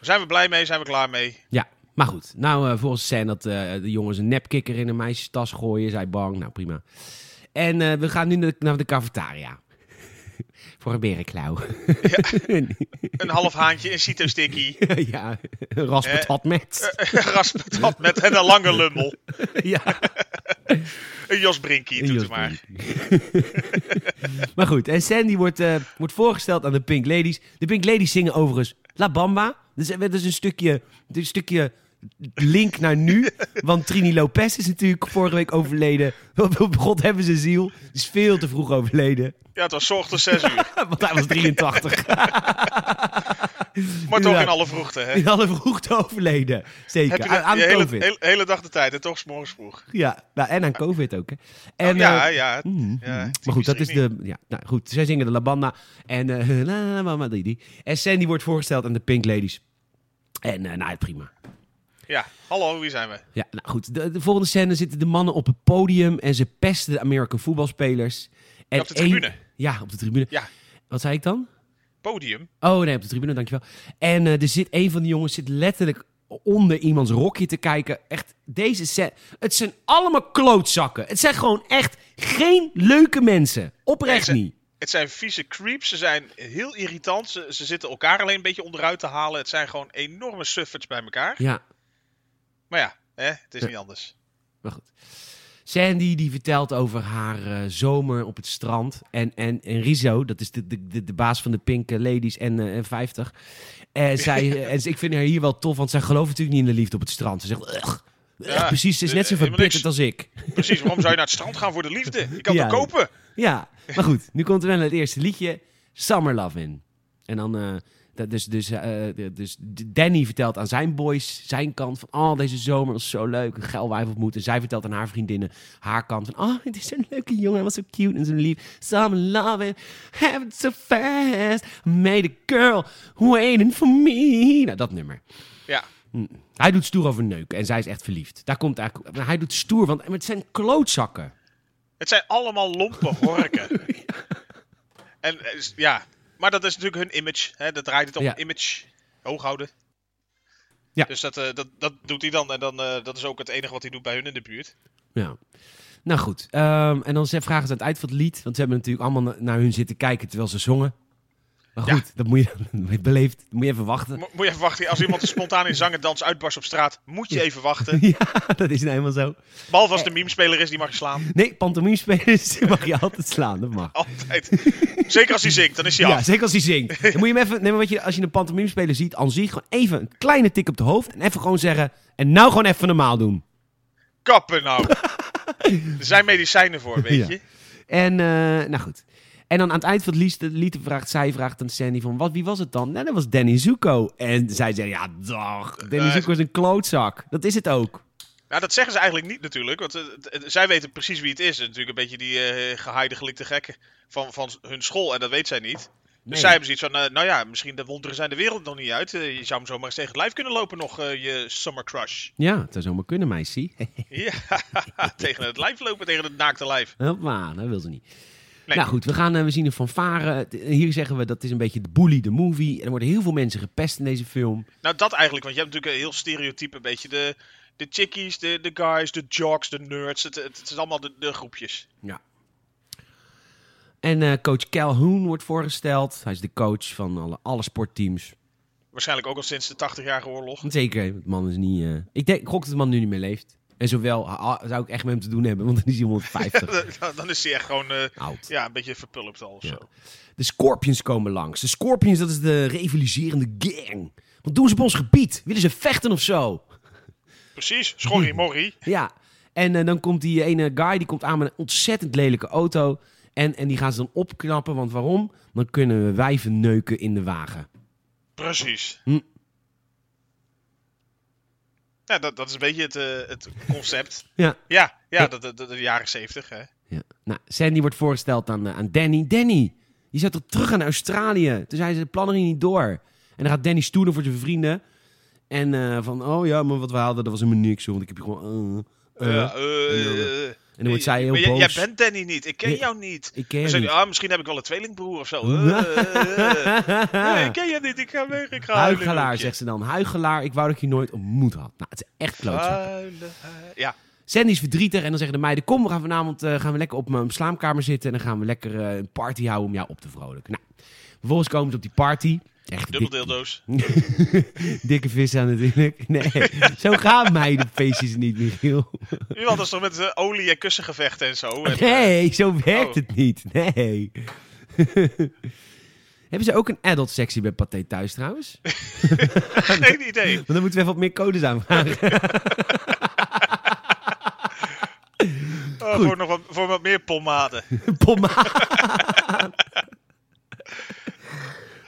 [SPEAKER 2] Zijn we blij mee? Zijn we klaar mee?
[SPEAKER 1] Ja, maar goed. Nou, eh volgens zijn dat eh, de jongens een nepkikker in een meisjestas gooien. Zij bang. Nou, prima. En eh, we gaan nu naar de, naar de cafetaria. Voor een berenklauw.
[SPEAKER 2] Een half haantje, een cito-sticky,
[SPEAKER 1] ja, een raspert
[SPEAKER 2] Eh, eh.
[SPEAKER 1] had met.
[SPEAKER 2] raspatat met en een lange lummel.
[SPEAKER 1] ja.
[SPEAKER 2] Een Jos Brinkie, doet het maar.
[SPEAKER 1] maar goed, en Sandy wordt, eh, wordt voorgesteld aan de Pink Ladies. De Pink Ladies zingen overigens La Bamba. Dus eh, dat is een stukje, een stukje link naar nu. Want Trini Lopez is natuurlijk vorige week overleden. God hebben ze ziel. Die is veel te vroeg overleden.
[SPEAKER 2] Ja, het was 's ochtends 6 uur.
[SPEAKER 1] Want hij was 83.
[SPEAKER 2] Maar toch
[SPEAKER 1] Ja.
[SPEAKER 2] in alle vroegte, hè?
[SPEAKER 1] In alle vroegte overleden. Zeker.
[SPEAKER 2] Heb je
[SPEAKER 1] aan, aan
[SPEAKER 2] de hele,
[SPEAKER 1] COVID.
[SPEAKER 2] hele, hele dag de tijd en toch 's morgens vroeg.
[SPEAKER 1] Ja, nou, en aan COVID ook. Hè. En, eh,
[SPEAKER 2] Oh, ja, ja.
[SPEAKER 1] Mhm.
[SPEAKER 2] Ja,
[SPEAKER 1] maar goed, dat is
[SPEAKER 2] typisch
[SPEAKER 1] de. Ja, nou goed, zij zingen de Labanda. En. eh, la, la, la, mama, die, die. En Sandy wordt voorgesteld aan de Pink Ladies. En, eh, nou, prima.
[SPEAKER 2] Ja, hallo, wie zijn we?
[SPEAKER 1] Ja, nou goed. De, de volgende scène zitten de mannen op het podium. En ze pesten de American voetbalspelers. En
[SPEAKER 2] Ja, op de
[SPEAKER 1] één-
[SPEAKER 2] tribune.
[SPEAKER 1] ja, op de tribune.
[SPEAKER 2] Ja.
[SPEAKER 1] Wat zei ik dan?
[SPEAKER 2] Podium.
[SPEAKER 1] Oh nee, op de tribune, dankjewel. En eh, er zit een van de jongens zit letterlijk onder iemands rokje te kijken. Echt, deze set. Het zijn allemaal klootzakken. Het zijn gewoon echt geen leuke mensen. Oprecht
[SPEAKER 2] Nee, ze-
[SPEAKER 1] niet.
[SPEAKER 2] Het zijn vieze creeps, ze zijn heel irritant. Ze, ze zitten elkaar alleen een beetje onderuit te halen. Het zijn gewoon enorme sufferts bij elkaar.
[SPEAKER 1] Ja,
[SPEAKER 2] Maar ja, hè, het is
[SPEAKER 1] Ja.
[SPEAKER 2] niet anders.
[SPEAKER 1] maar goed. Sandy die vertelt over haar eh, zomer op het strand. En, en, en Rizzo, dat is de, de, de, de baas van de Pink Ladies en eh, en 50. En, zij, eh, en ze- ik vind haar hier wel tof, want zij gelooft natuurlijk niet in de liefde op het strand. Ze zegt, "Ugh, ugh,"
[SPEAKER 2] Ja,
[SPEAKER 1] precies, ze is
[SPEAKER 2] eh,
[SPEAKER 1] net zo
[SPEAKER 2] helemaal niks.
[SPEAKER 1] verbitterd als ik.
[SPEAKER 2] Precies, waarom zou je naar het strand gaan voor de liefde? Ik kan
[SPEAKER 1] Ja.
[SPEAKER 2] het kopen.
[SPEAKER 1] Ja, maar goed, nu komt er wel het eerste liedje, Summer Love in. En dan, eh, dat dus, dus, eh, dus Danny vertelt aan zijn boys, zijn kant van, oh, deze zomer was zo leuk, een geil wijf ontmoet. En zij vertelt aan haar vriendinnen, haar kant van, oh, dit is zo'n leuke jongen, hij was zo cute en zo lief. Summer Love in, have it so fast, made a girl waiting for me. Nou, dat nummer.
[SPEAKER 2] Ja,
[SPEAKER 1] Hij doet stoer over neuken en zij is echt verliefd. Daar komt eigenlijk, maar hij doet stoer, want maar het zijn klootzakken.
[SPEAKER 2] het zijn allemaal lompe horken. En eh, s- ja, maar dat is natuurlijk hun image. Hè? Dat draait het om
[SPEAKER 1] Ja.
[SPEAKER 2] image. Hoog houden.
[SPEAKER 1] Ja.
[SPEAKER 2] Dus dat, eh, dat, dat doet hij dan. En dan, eh, dat is ook het enige wat hij doet bij hun in de buurt.
[SPEAKER 1] Ja. Nou goed, ehm, en dan ze- vragen ze aan het eind van het lied, want ze hebben natuurlijk allemaal na- naar hun zitten kijken terwijl ze zongen. Maar
[SPEAKER 2] Ja.
[SPEAKER 1] goed, dat moet je dan beleefd, dat moet je even wachten.
[SPEAKER 2] Mo- moet je even wachten. Als iemand spontaan in zang en dans uitbarst op straat, moet je even wachten.
[SPEAKER 1] Ja, dat is nou helemaal zo.
[SPEAKER 2] Behalve als de memespeler is, die mag je slaan.
[SPEAKER 1] Nee, pantomimespelers mag je altijd slaan, dat mag.
[SPEAKER 2] Altijd. Zeker als hij zingt, dan is hij
[SPEAKER 1] Ja,
[SPEAKER 2] af.
[SPEAKER 1] zeker als hij zingt. Dan moet je hem even, nee, maar wat je, als je een pantomimespeler ziet, aan zich gewoon even een kleine tik op de hoofd en even gewoon zeggen, en nou gewoon even normaal doen.
[SPEAKER 2] Kappen nou. Er zijn medicijnen voor, weet
[SPEAKER 1] Ja.
[SPEAKER 2] je.
[SPEAKER 1] En, eh, nou goed. En dan aan het eind van het lied, lied vraagt zij vraagt aan Sandy van, wat, wie was het dan? Nou, dat was Danny Zuko. En zij zei, ja, dag, Danny
[SPEAKER 2] Eh,
[SPEAKER 1] Zuko is een klootzak. Dat is het ook.
[SPEAKER 2] Nou, dat zeggen ze eigenlijk niet natuurlijk, want eh, het- het- zij weten precies wie het is. Het is natuurlijk een beetje die eh gehaaide gelikte gekken van, van hun school en dat weet zij niet.
[SPEAKER 1] Nee.
[SPEAKER 2] Dus zij hebben zoiets van, eh, nou ja, misschien de wonderen zijn de wereld nog niet uit. Eh, je zou hem zomaar eens tegen het lijf kunnen lopen nog, eh, je summer crush.
[SPEAKER 1] Ja, het zou zomaar kunnen, meisje.
[SPEAKER 2] ja, tegen het lijf lopen, tegen het naakte lijf.
[SPEAKER 1] Hoppa, dat wil ze niet.
[SPEAKER 2] Nee.
[SPEAKER 1] Nou goed, we, gaan, eh, we zien een fanfare. Het- Hier zeggen we, dat is een beetje de bully, de movie. En er worden heel veel mensen gepest in deze film.
[SPEAKER 2] Nou, dat eigenlijk, want je hebt natuurlijk een heel stereotype een beetje de... De chickies, de, de guys, de jocks, de nerds. Het, het, het is allemaal de, de groepjes.
[SPEAKER 1] Ja. En eh, coach Calhoun wordt voorgesteld. Hij is de coach van alle, alle sportteams.
[SPEAKER 2] Waarschijnlijk ook al sinds de 80-jarige oorlog.
[SPEAKER 1] Zeker, de man is niet... eh, Ik denk, ik gok dat de man nu niet meer leeft. En zowel ah, zou ik echt met hem te doen hebben, want dan is hij 150
[SPEAKER 2] dan, dan is hij echt gewoon eh,
[SPEAKER 1] oud.
[SPEAKER 2] ja, een beetje verpulpt al of
[SPEAKER 1] Ja.
[SPEAKER 2] zo.
[SPEAKER 1] De Scorpions komen langs. De Scorpions, dat is de revoliserende gang. Wat doen ze op ons gebied? Willen ze vechten of zo?
[SPEAKER 2] Precies, schorrie morrie.
[SPEAKER 1] Ja. En eh, dan komt die ene guy, die komt aan met een ontzettend lelijke auto. En, en die gaan ze dan opknappen, want waarom? Dan kunnen we wijven neuken in de wagen.
[SPEAKER 2] Precies.
[SPEAKER 1] Hm.
[SPEAKER 2] Ja, dat, dat is een beetje het, eh, het concept.
[SPEAKER 1] Ja.
[SPEAKER 2] Ja,
[SPEAKER 1] Ja.
[SPEAKER 2] ja dat, dat, dat- de jaren zeventig. hè.
[SPEAKER 1] Ja. Nou, Sandy wordt voorgesteld aan, eh, aan Danny. Danny, je zou toch terug aan Australië? Toen zei ze, de plannen gingen niet door. En dan gaat Danny stoelen voor zijn vrienden. En eh, van, oh ja, maar wat we hadden, dat was helemaal niks, joh, want ik heb je gewoon... eh, eh.
[SPEAKER 2] Ja, eh,
[SPEAKER 1] en dan,
[SPEAKER 2] eh,
[SPEAKER 1] En dan wordt zij heel
[SPEAKER 2] maar jij-
[SPEAKER 1] boos.
[SPEAKER 2] Jij bent Danny niet. Ik ken
[SPEAKER 1] Nee.
[SPEAKER 2] jou niet.
[SPEAKER 1] Ik ken
[SPEAKER 2] Dan
[SPEAKER 1] je
[SPEAKER 2] zeg
[SPEAKER 1] niet.
[SPEAKER 2] je, ah, misschien heb ik wel een tweelingbroer of zo. Eh, eh, eh. nee, ik ken je niet. Ik ga weg. Ik ga huilen in een
[SPEAKER 1] Huigelaar,
[SPEAKER 2] hoekje.
[SPEAKER 1] zegt ze dan. Huigelaar, ik wou dat ik je nooit ontmoet had. Nou, het is echt
[SPEAKER 2] Ah.
[SPEAKER 1] klootzak.
[SPEAKER 2] Huilen, huilen. Ja,
[SPEAKER 1] Sandy is verdrietig en dan zeggen de meiden... kom, we gaan vanavond eh, gaan we lekker op mijn slaapkamer zitten... en dan gaan we lekker eh, een party houden om jou op te vrolijken. Nou, vervolgens komen ze op die party. Echt dik-
[SPEAKER 2] dubbeldeeldoos.
[SPEAKER 1] dikke vis aan natuurlijk. Nee, zo gaan meidenfeestjes niet, Michiel.
[SPEAKER 2] Iemand anders toch met eh, olie en kussengevechten en zo. En, eh,
[SPEAKER 1] Nee, zo werkt
[SPEAKER 2] Oh.
[SPEAKER 1] het niet. Nee. Hebben ze ook een adult sectie bij Pathé thuis trouwens? Want
[SPEAKER 2] geen idee.
[SPEAKER 1] dan moeten we even wat meer codes aanvragen.
[SPEAKER 2] Oh, voor, nog wat, voor wat meer pomade.
[SPEAKER 1] Pomma.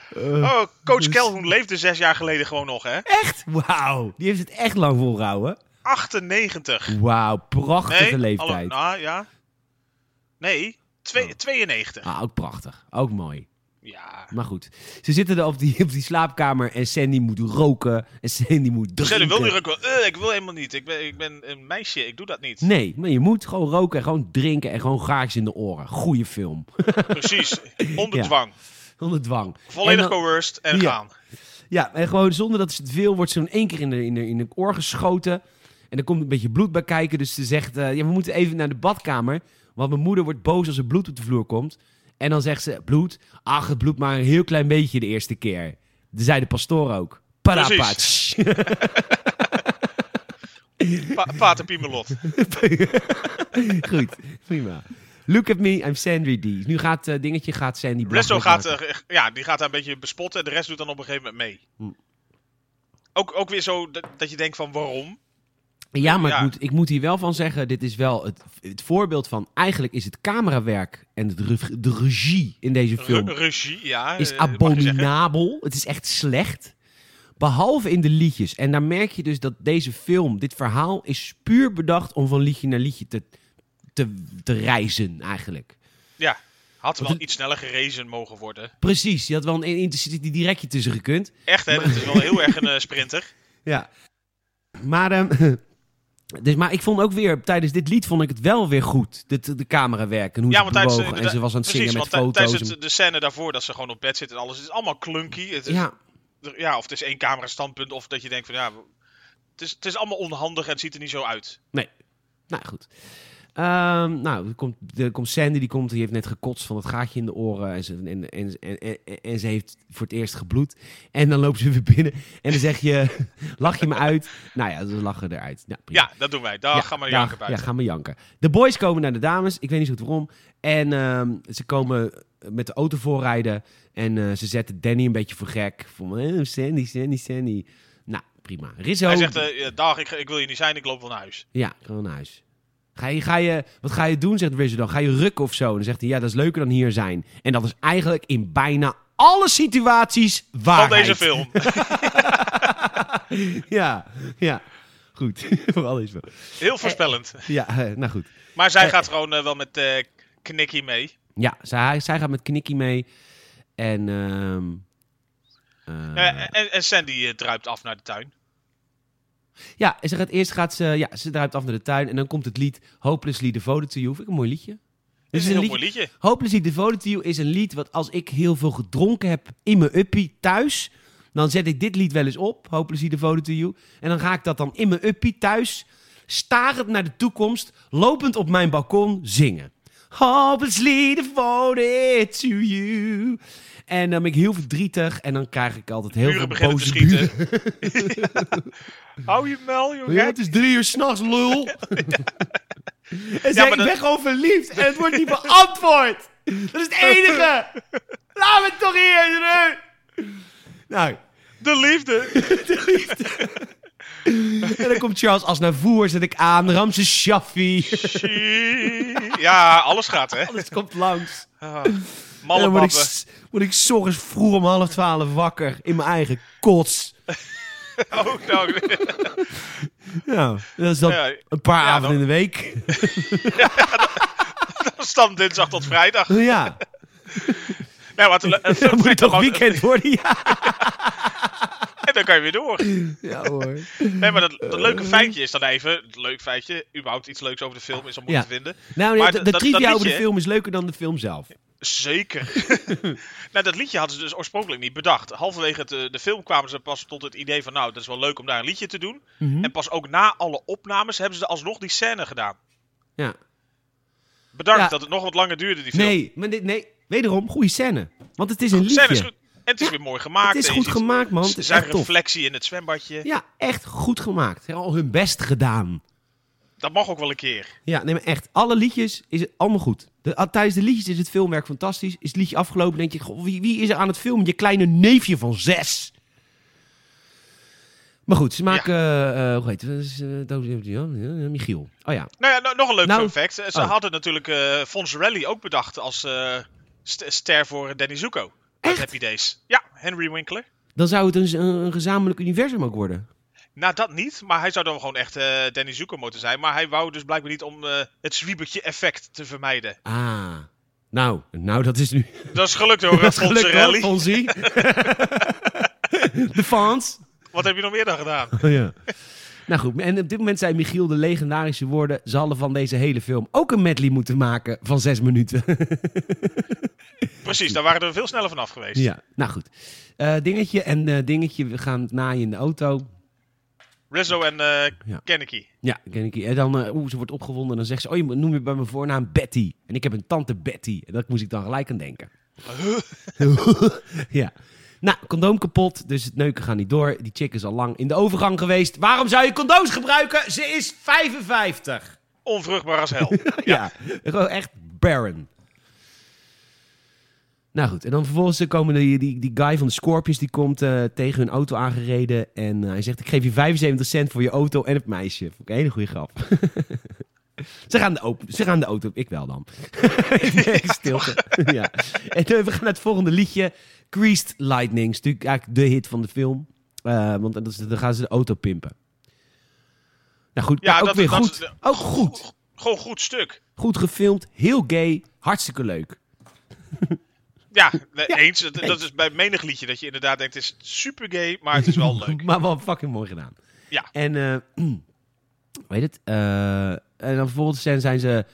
[SPEAKER 1] Eh,
[SPEAKER 2] Oh,
[SPEAKER 1] dus-
[SPEAKER 2] coach Calhoun leefde zes jaar geleden gewoon nog, hè?
[SPEAKER 1] Echt? Wauw. Die heeft het echt lang volgehouden.
[SPEAKER 2] 98.
[SPEAKER 1] Wauw, prachtige
[SPEAKER 2] Nee, hallo,
[SPEAKER 1] leeftijd.
[SPEAKER 2] nou ja. Nee, twee- 92.
[SPEAKER 1] Ah, ook prachtig. Ook mooi.
[SPEAKER 2] Ja.
[SPEAKER 1] Maar goed. Ze zitten er op die, op die slaapkamer en Sandy moet roken. En Sandy moet drinken.
[SPEAKER 2] Zelf wil nu ook wel. Eh, ik wil helemaal niet. Ik ben, ik ben een meisje. Ik doe dat niet.
[SPEAKER 1] Nee, maar je moet gewoon roken en gewoon drinken en gewoon gaatjes in de oren. Goeie film.
[SPEAKER 2] Precies. Onder
[SPEAKER 1] Ja.
[SPEAKER 2] dwang.
[SPEAKER 1] Onder dwang.
[SPEAKER 2] Volledig
[SPEAKER 1] en dan-
[SPEAKER 2] coerced en
[SPEAKER 1] Ja.
[SPEAKER 2] gaan.
[SPEAKER 1] Ja, en gewoon zonder dat ze het wil, wordt ze dan één keer in de, in, de, in de oor geschoten. En er komt een beetje bloed bij kijken. Dus ze zegt, eh, ja, we moeten even naar de badkamer. Want mijn moeder wordt boos als er bloed op de vloer komt. En dan zegt ze, bloed? Ach, het bloed maar een heel klein beetje de eerste keer. Dat zei de pastoor ook. Parapats.
[SPEAKER 2] Pa Pater Piemelot.
[SPEAKER 1] Goed, prima. Look at me, I'm Sandy D. Nu gaat eh, dingetje, gaat Sandy
[SPEAKER 2] Blesso
[SPEAKER 1] belachelijk
[SPEAKER 2] gaat,
[SPEAKER 1] maken.
[SPEAKER 2] eh, ja, die gaat daar een beetje bespotten. En de rest doet dan op een gegeven moment mee.
[SPEAKER 1] Hm.
[SPEAKER 2] Ook, ook weer zo dat, dat je denkt van waarom?
[SPEAKER 1] Ja, maar Ik,
[SPEAKER 2] Ja.
[SPEAKER 1] moet, ik moet hier wel van zeggen, dit is wel het, het voorbeeld van... Eigenlijk is het camerawerk en het re- de regie in deze film
[SPEAKER 2] Ru- Regie, ja.
[SPEAKER 1] is
[SPEAKER 2] eh, mag je zeggen.
[SPEAKER 1] abominabel. Het is echt slecht. Behalve in de liedjes. En daar merk je dus dat deze film, dit verhaal, is puur bedacht om van liedje naar liedje te, te, te reizen eigenlijk.
[SPEAKER 2] Ja, had wel
[SPEAKER 1] het-
[SPEAKER 2] iets sneller gerezen mogen worden.
[SPEAKER 1] Precies, je had wel een intercity directje tussen gekund.
[SPEAKER 2] Echt, hè? Dat is wel heel erg een eh, sprinter.
[SPEAKER 1] Ja. Maar, ehm, dus, maar ik vond ook weer, tijdens dit lied vond ik het wel weer goed. De, de camerawerk en hoe
[SPEAKER 2] Ja,
[SPEAKER 1] ze
[SPEAKER 2] want tijdens,
[SPEAKER 1] bewogen.
[SPEAKER 2] eh,
[SPEAKER 1] En ze was aan het
[SPEAKER 2] Precies,
[SPEAKER 1] zingen met
[SPEAKER 2] want
[SPEAKER 1] foto's.
[SPEAKER 2] tij- tijdens
[SPEAKER 1] en-
[SPEAKER 2] het, de scène daarvoor dat ze gewoon op bed zit en alles. Het is allemaal clunky. Het is, ja.
[SPEAKER 1] ja,
[SPEAKER 2] of het is één camera standpunt of dat je denkt van ja... Het is, het is allemaal onhandig en het ziet er niet zo uit.
[SPEAKER 1] Nee. Nou, goed. Ehm, nou, er komt, er komt Sandy, die, komt, die heeft net gekotst van het gaatje in de oren. En ze, en, en, en, en, en ze heeft voor het eerst gebloed. En dan loopt ze weer binnen. En dan zeg je, lach je me uit? Nou ja, ze lachen eruit. Nou, prima.
[SPEAKER 2] Ja, dat doen wij. Daar gaan we
[SPEAKER 1] dag.
[SPEAKER 2] Oh, janken
[SPEAKER 1] Ja,
[SPEAKER 2] buiten.
[SPEAKER 1] gaan we janken. De boys komen naar de dames. Ik weet niet zo goed waarom. En ehm, ze komen met de auto voorrijden. En eh, ze zetten Danny een beetje voor gek. Van, eh, Sandy, Sandy, Sandy. Nou, prima. Rizzo.
[SPEAKER 2] Hij zegt, eh, ja, dag, ik, ik wil hier niet zijn, ik loop wel naar huis.
[SPEAKER 1] Ja, gewoon naar huis. Ga je, ga je, wat ga je doen, zegt Rizzo dan? Ga je rukken of zo? En dan zegt hij, ja, dat is leuker dan hier zijn. En dat is eigenlijk in bijna alle situaties
[SPEAKER 2] Van
[SPEAKER 1] waarheid.
[SPEAKER 2] deze film.
[SPEAKER 1] Ja, ja. Goed, voor alles wel.
[SPEAKER 2] Heel voorspellend.
[SPEAKER 1] Ja, eh, nou goed.
[SPEAKER 2] Maar zij
[SPEAKER 1] eh,
[SPEAKER 2] gaat gewoon eh, wel met eh Knicky mee.
[SPEAKER 1] Ja, zij, zij gaat met Knikkie mee. En, ehm eh,
[SPEAKER 2] Eh, en, en Sandy eh, druipt af naar de tuin.
[SPEAKER 1] ja, ze gaat, eerst gaat ze, ja, ze draait af naar de tuin. En dan komt het lied Hopelessly Devoted to You. Vind ik een mooi liedje.
[SPEAKER 2] Dit
[SPEAKER 1] Dit
[SPEAKER 2] is een heel mooi liedje.
[SPEAKER 1] Hopelessly Devoted to You is een lied wat als ik heel veel gedronken heb in mijn uppie thuis, dan zet ik dit lied wel eens op, Hopelessly Devoted to You. En dan ga ik dat dan in mijn uppie thuis, starend naar de toekomst, lopend op mijn balkon zingen. Hopelessly devoted to you. En dan ben ik heel verdrietig en dan krijg ik altijd heel
[SPEAKER 2] Buren
[SPEAKER 1] veel
[SPEAKER 2] beginnen te
[SPEAKER 1] boze
[SPEAKER 2] schieten.
[SPEAKER 1] buren.
[SPEAKER 2] Hou je mel, joh.
[SPEAKER 1] Ja, het is drie uur s'nachts, lul. En
[SPEAKER 2] maar
[SPEAKER 1] zeg, ik
[SPEAKER 2] dat-
[SPEAKER 1] ben gewoon verliefd en het wordt niet beantwoord. Dat is het enige. Laat me toch hier, nu. Nou,
[SPEAKER 2] De liefde.
[SPEAKER 1] de liefde. En En dan komt Charles Aznavour, zet ik aan. Ramses Shaffi.
[SPEAKER 2] Ja, alles gaat, hè?
[SPEAKER 1] Alles komt langs.
[SPEAKER 2] Ah,
[SPEAKER 1] En
[SPEAKER 2] Malle
[SPEAKER 1] dan word ik,
[SPEAKER 2] bappen.
[SPEAKER 1] s- word ik 's ochtends vroeg om half twaalf wakker in mijn eigen kots.
[SPEAKER 2] Oh, nou,
[SPEAKER 1] Ja, dat is dan
[SPEAKER 2] Ja,
[SPEAKER 1] een paar
[SPEAKER 2] ja,
[SPEAKER 1] avonden
[SPEAKER 2] dan-
[SPEAKER 1] in de week.
[SPEAKER 2] dat is dan dinsdag tot vrijdag.
[SPEAKER 1] ja,
[SPEAKER 2] Nou, wat een le-
[SPEAKER 1] dan moet het toch
[SPEAKER 2] lang-
[SPEAKER 1] weekend worden. Ja,
[SPEAKER 2] En dan kan je weer door.
[SPEAKER 1] ja hoor.
[SPEAKER 2] Nee, maar dat, dat leuke
[SPEAKER 1] Eh,
[SPEAKER 2] feitje is dan even... het Leuk feitje, überhaupt iets leuks over de film is om
[SPEAKER 1] Ja.
[SPEAKER 2] te vinden.
[SPEAKER 1] Nou, nee,
[SPEAKER 2] Maar
[SPEAKER 1] de,
[SPEAKER 2] dat-
[SPEAKER 1] de
[SPEAKER 2] dat-
[SPEAKER 1] trivia
[SPEAKER 2] dat
[SPEAKER 1] over de
[SPEAKER 2] liedje,
[SPEAKER 1] film is leuker dan de film zelf.
[SPEAKER 2] Zeker. nou, dat liedje hadden ze dus oorspronkelijk niet bedacht. Halverwege het, eh, de film kwamen ze pas tot het idee van... nou, dat is wel leuk om daar een liedje te doen.
[SPEAKER 1] Mhm.
[SPEAKER 2] En pas ook na alle opnames hebben ze alsnog die scène gedaan.
[SPEAKER 1] Ja.
[SPEAKER 2] Bedankt
[SPEAKER 1] Ja.
[SPEAKER 2] dat het nog wat langer duurde, die film.
[SPEAKER 1] Nee, maar dit, nee, wederom, goede scène. Want het is een
[SPEAKER 2] De scène
[SPEAKER 1] liedje.
[SPEAKER 2] is goed. En het is weer mooi gemaakt.
[SPEAKER 1] Het is
[SPEAKER 2] en je
[SPEAKER 1] goed
[SPEAKER 2] ziet
[SPEAKER 1] gemaakt, man. Het is
[SPEAKER 2] Zijn
[SPEAKER 1] echt tof.
[SPEAKER 2] reflectie in het zwembadje.
[SPEAKER 1] Ja, echt goed gemaakt. Ze hebben al hun best gedaan.
[SPEAKER 2] Dat mag ook wel een keer.
[SPEAKER 1] Ja, nee, maar echt. Alle liedjes is het allemaal goed. De, al- tijdens de liedjes is het filmwerk fantastisch. Is het liedje afgelopen, denk je, goh, wie, wie is er aan het filmen? Je kleine neefje van zes. Maar goed, ze maken... eh, eh, hoe heet het? Dat is, eh, Doos- ja, ja, Michiel. Oh ja.
[SPEAKER 2] Nou ja, no- nog een leuk
[SPEAKER 1] Nou,
[SPEAKER 2] fun fact. Ze
[SPEAKER 1] oh.
[SPEAKER 2] hadden natuurlijk eh Fons Rally ook bedacht als eh, st- ster voor Danny Zuko. Uit
[SPEAKER 1] Echt?
[SPEAKER 2] Happy Days. Ja, Henry Winkler.
[SPEAKER 1] Dan zou het een, een gezamenlijk universum ook worden.
[SPEAKER 2] Nou, dat niet. Maar hij zou dan gewoon echt eh, Danny Zuko moeten zijn. Maar hij wou dus blijkbaar niet om eh, het zwiebertje effect te vermijden.
[SPEAKER 1] Ah. Nou, nou dat is nu...
[SPEAKER 2] Dat is gelukt hoor,
[SPEAKER 1] dat is
[SPEAKER 2] Fons
[SPEAKER 1] gelukkig, hoor,
[SPEAKER 2] Rally.
[SPEAKER 1] Fonzie. De fans.
[SPEAKER 2] Wat heb je nog meer dan gedaan?
[SPEAKER 1] Oh, ja. Nou goed, en op dit moment zijn Michiel de legendarische woorden. Ze hadden van deze hele film ook een medley moeten maken van zes minuten.
[SPEAKER 2] Precies, daar waren we veel sneller vanaf geweest.
[SPEAKER 1] ja, nou goed. Eh, dingetje en eh, dingetje, we gaan naaien in de auto.
[SPEAKER 2] Rizzo en eh
[SPEAKER 1] Ja.
[SPEAKER 2] Kennedy.
[SPEAKER 1] Ja, ken ik. En dan, eh, oeh, ze wordt opgewonden. En dan zegt ze, oh, je noem je bij mijn voornaam Betty. En ik heb een tante Betty. En dat moest ik dan gelijk aan denken. ja. Nou, condoom kapot, dus het neuken gaat niet door. Die chick is al lang in de overgang geweest. Waarom zou je condooms gebruiken? Ze is 55.
[SPEAKER 2] Onvruchtbaar als hel.
[SPEAKER 1] ja. Gewoon echt barren. Nou goed, en dan vervolgens komen die, die, die guy van de Scorpions, die komt eh, tegen hun auto aangereden. En eh, hij zegt, ik geef je 75 cent voor je auto en het meisje. Vond ik een hele goede grap. ze, gaan de op- ze gaan de auto, ik wel dan. nee, stilte. ja. En eh, we gaan naar het volgende liedje. Creased Lightning, is natuurlijk eigenlijk de hit van de film. Eh, want dat is, dan gaan ze de auto pimpen. Nou goed,
[SPEAKER 2] Ja,
[SPEAKER 1] ook
[SPEAKER 2] dat-
[SPEAKER 1] weer
[SPEAKER 2] dat-
[SPEAKER 1] goed. ook goed.
[SPEAKER 2] Gewoon goed stuk.
[SPEAKER 1] Goed gefilmd, heel gay, hartstikke leuk.
[SPEAKER 2] Ja, nee,
[SPEAKER 1] Ja,
[SPEAKER 2] eens. Dat, dat
[SPEAKER 1] eens.
[SPEAKER 2] is bij menig liedje dat je inderdaad denkt, het is super gay, maar het is wel leuk.
[SPEAKER 1] maar wel fucking mooi gedaan.
[SPEAKER 2] Ja.
[SPEAKER 1] En, eh weet het? eh, en dan vervolgens zijn, zijn ze...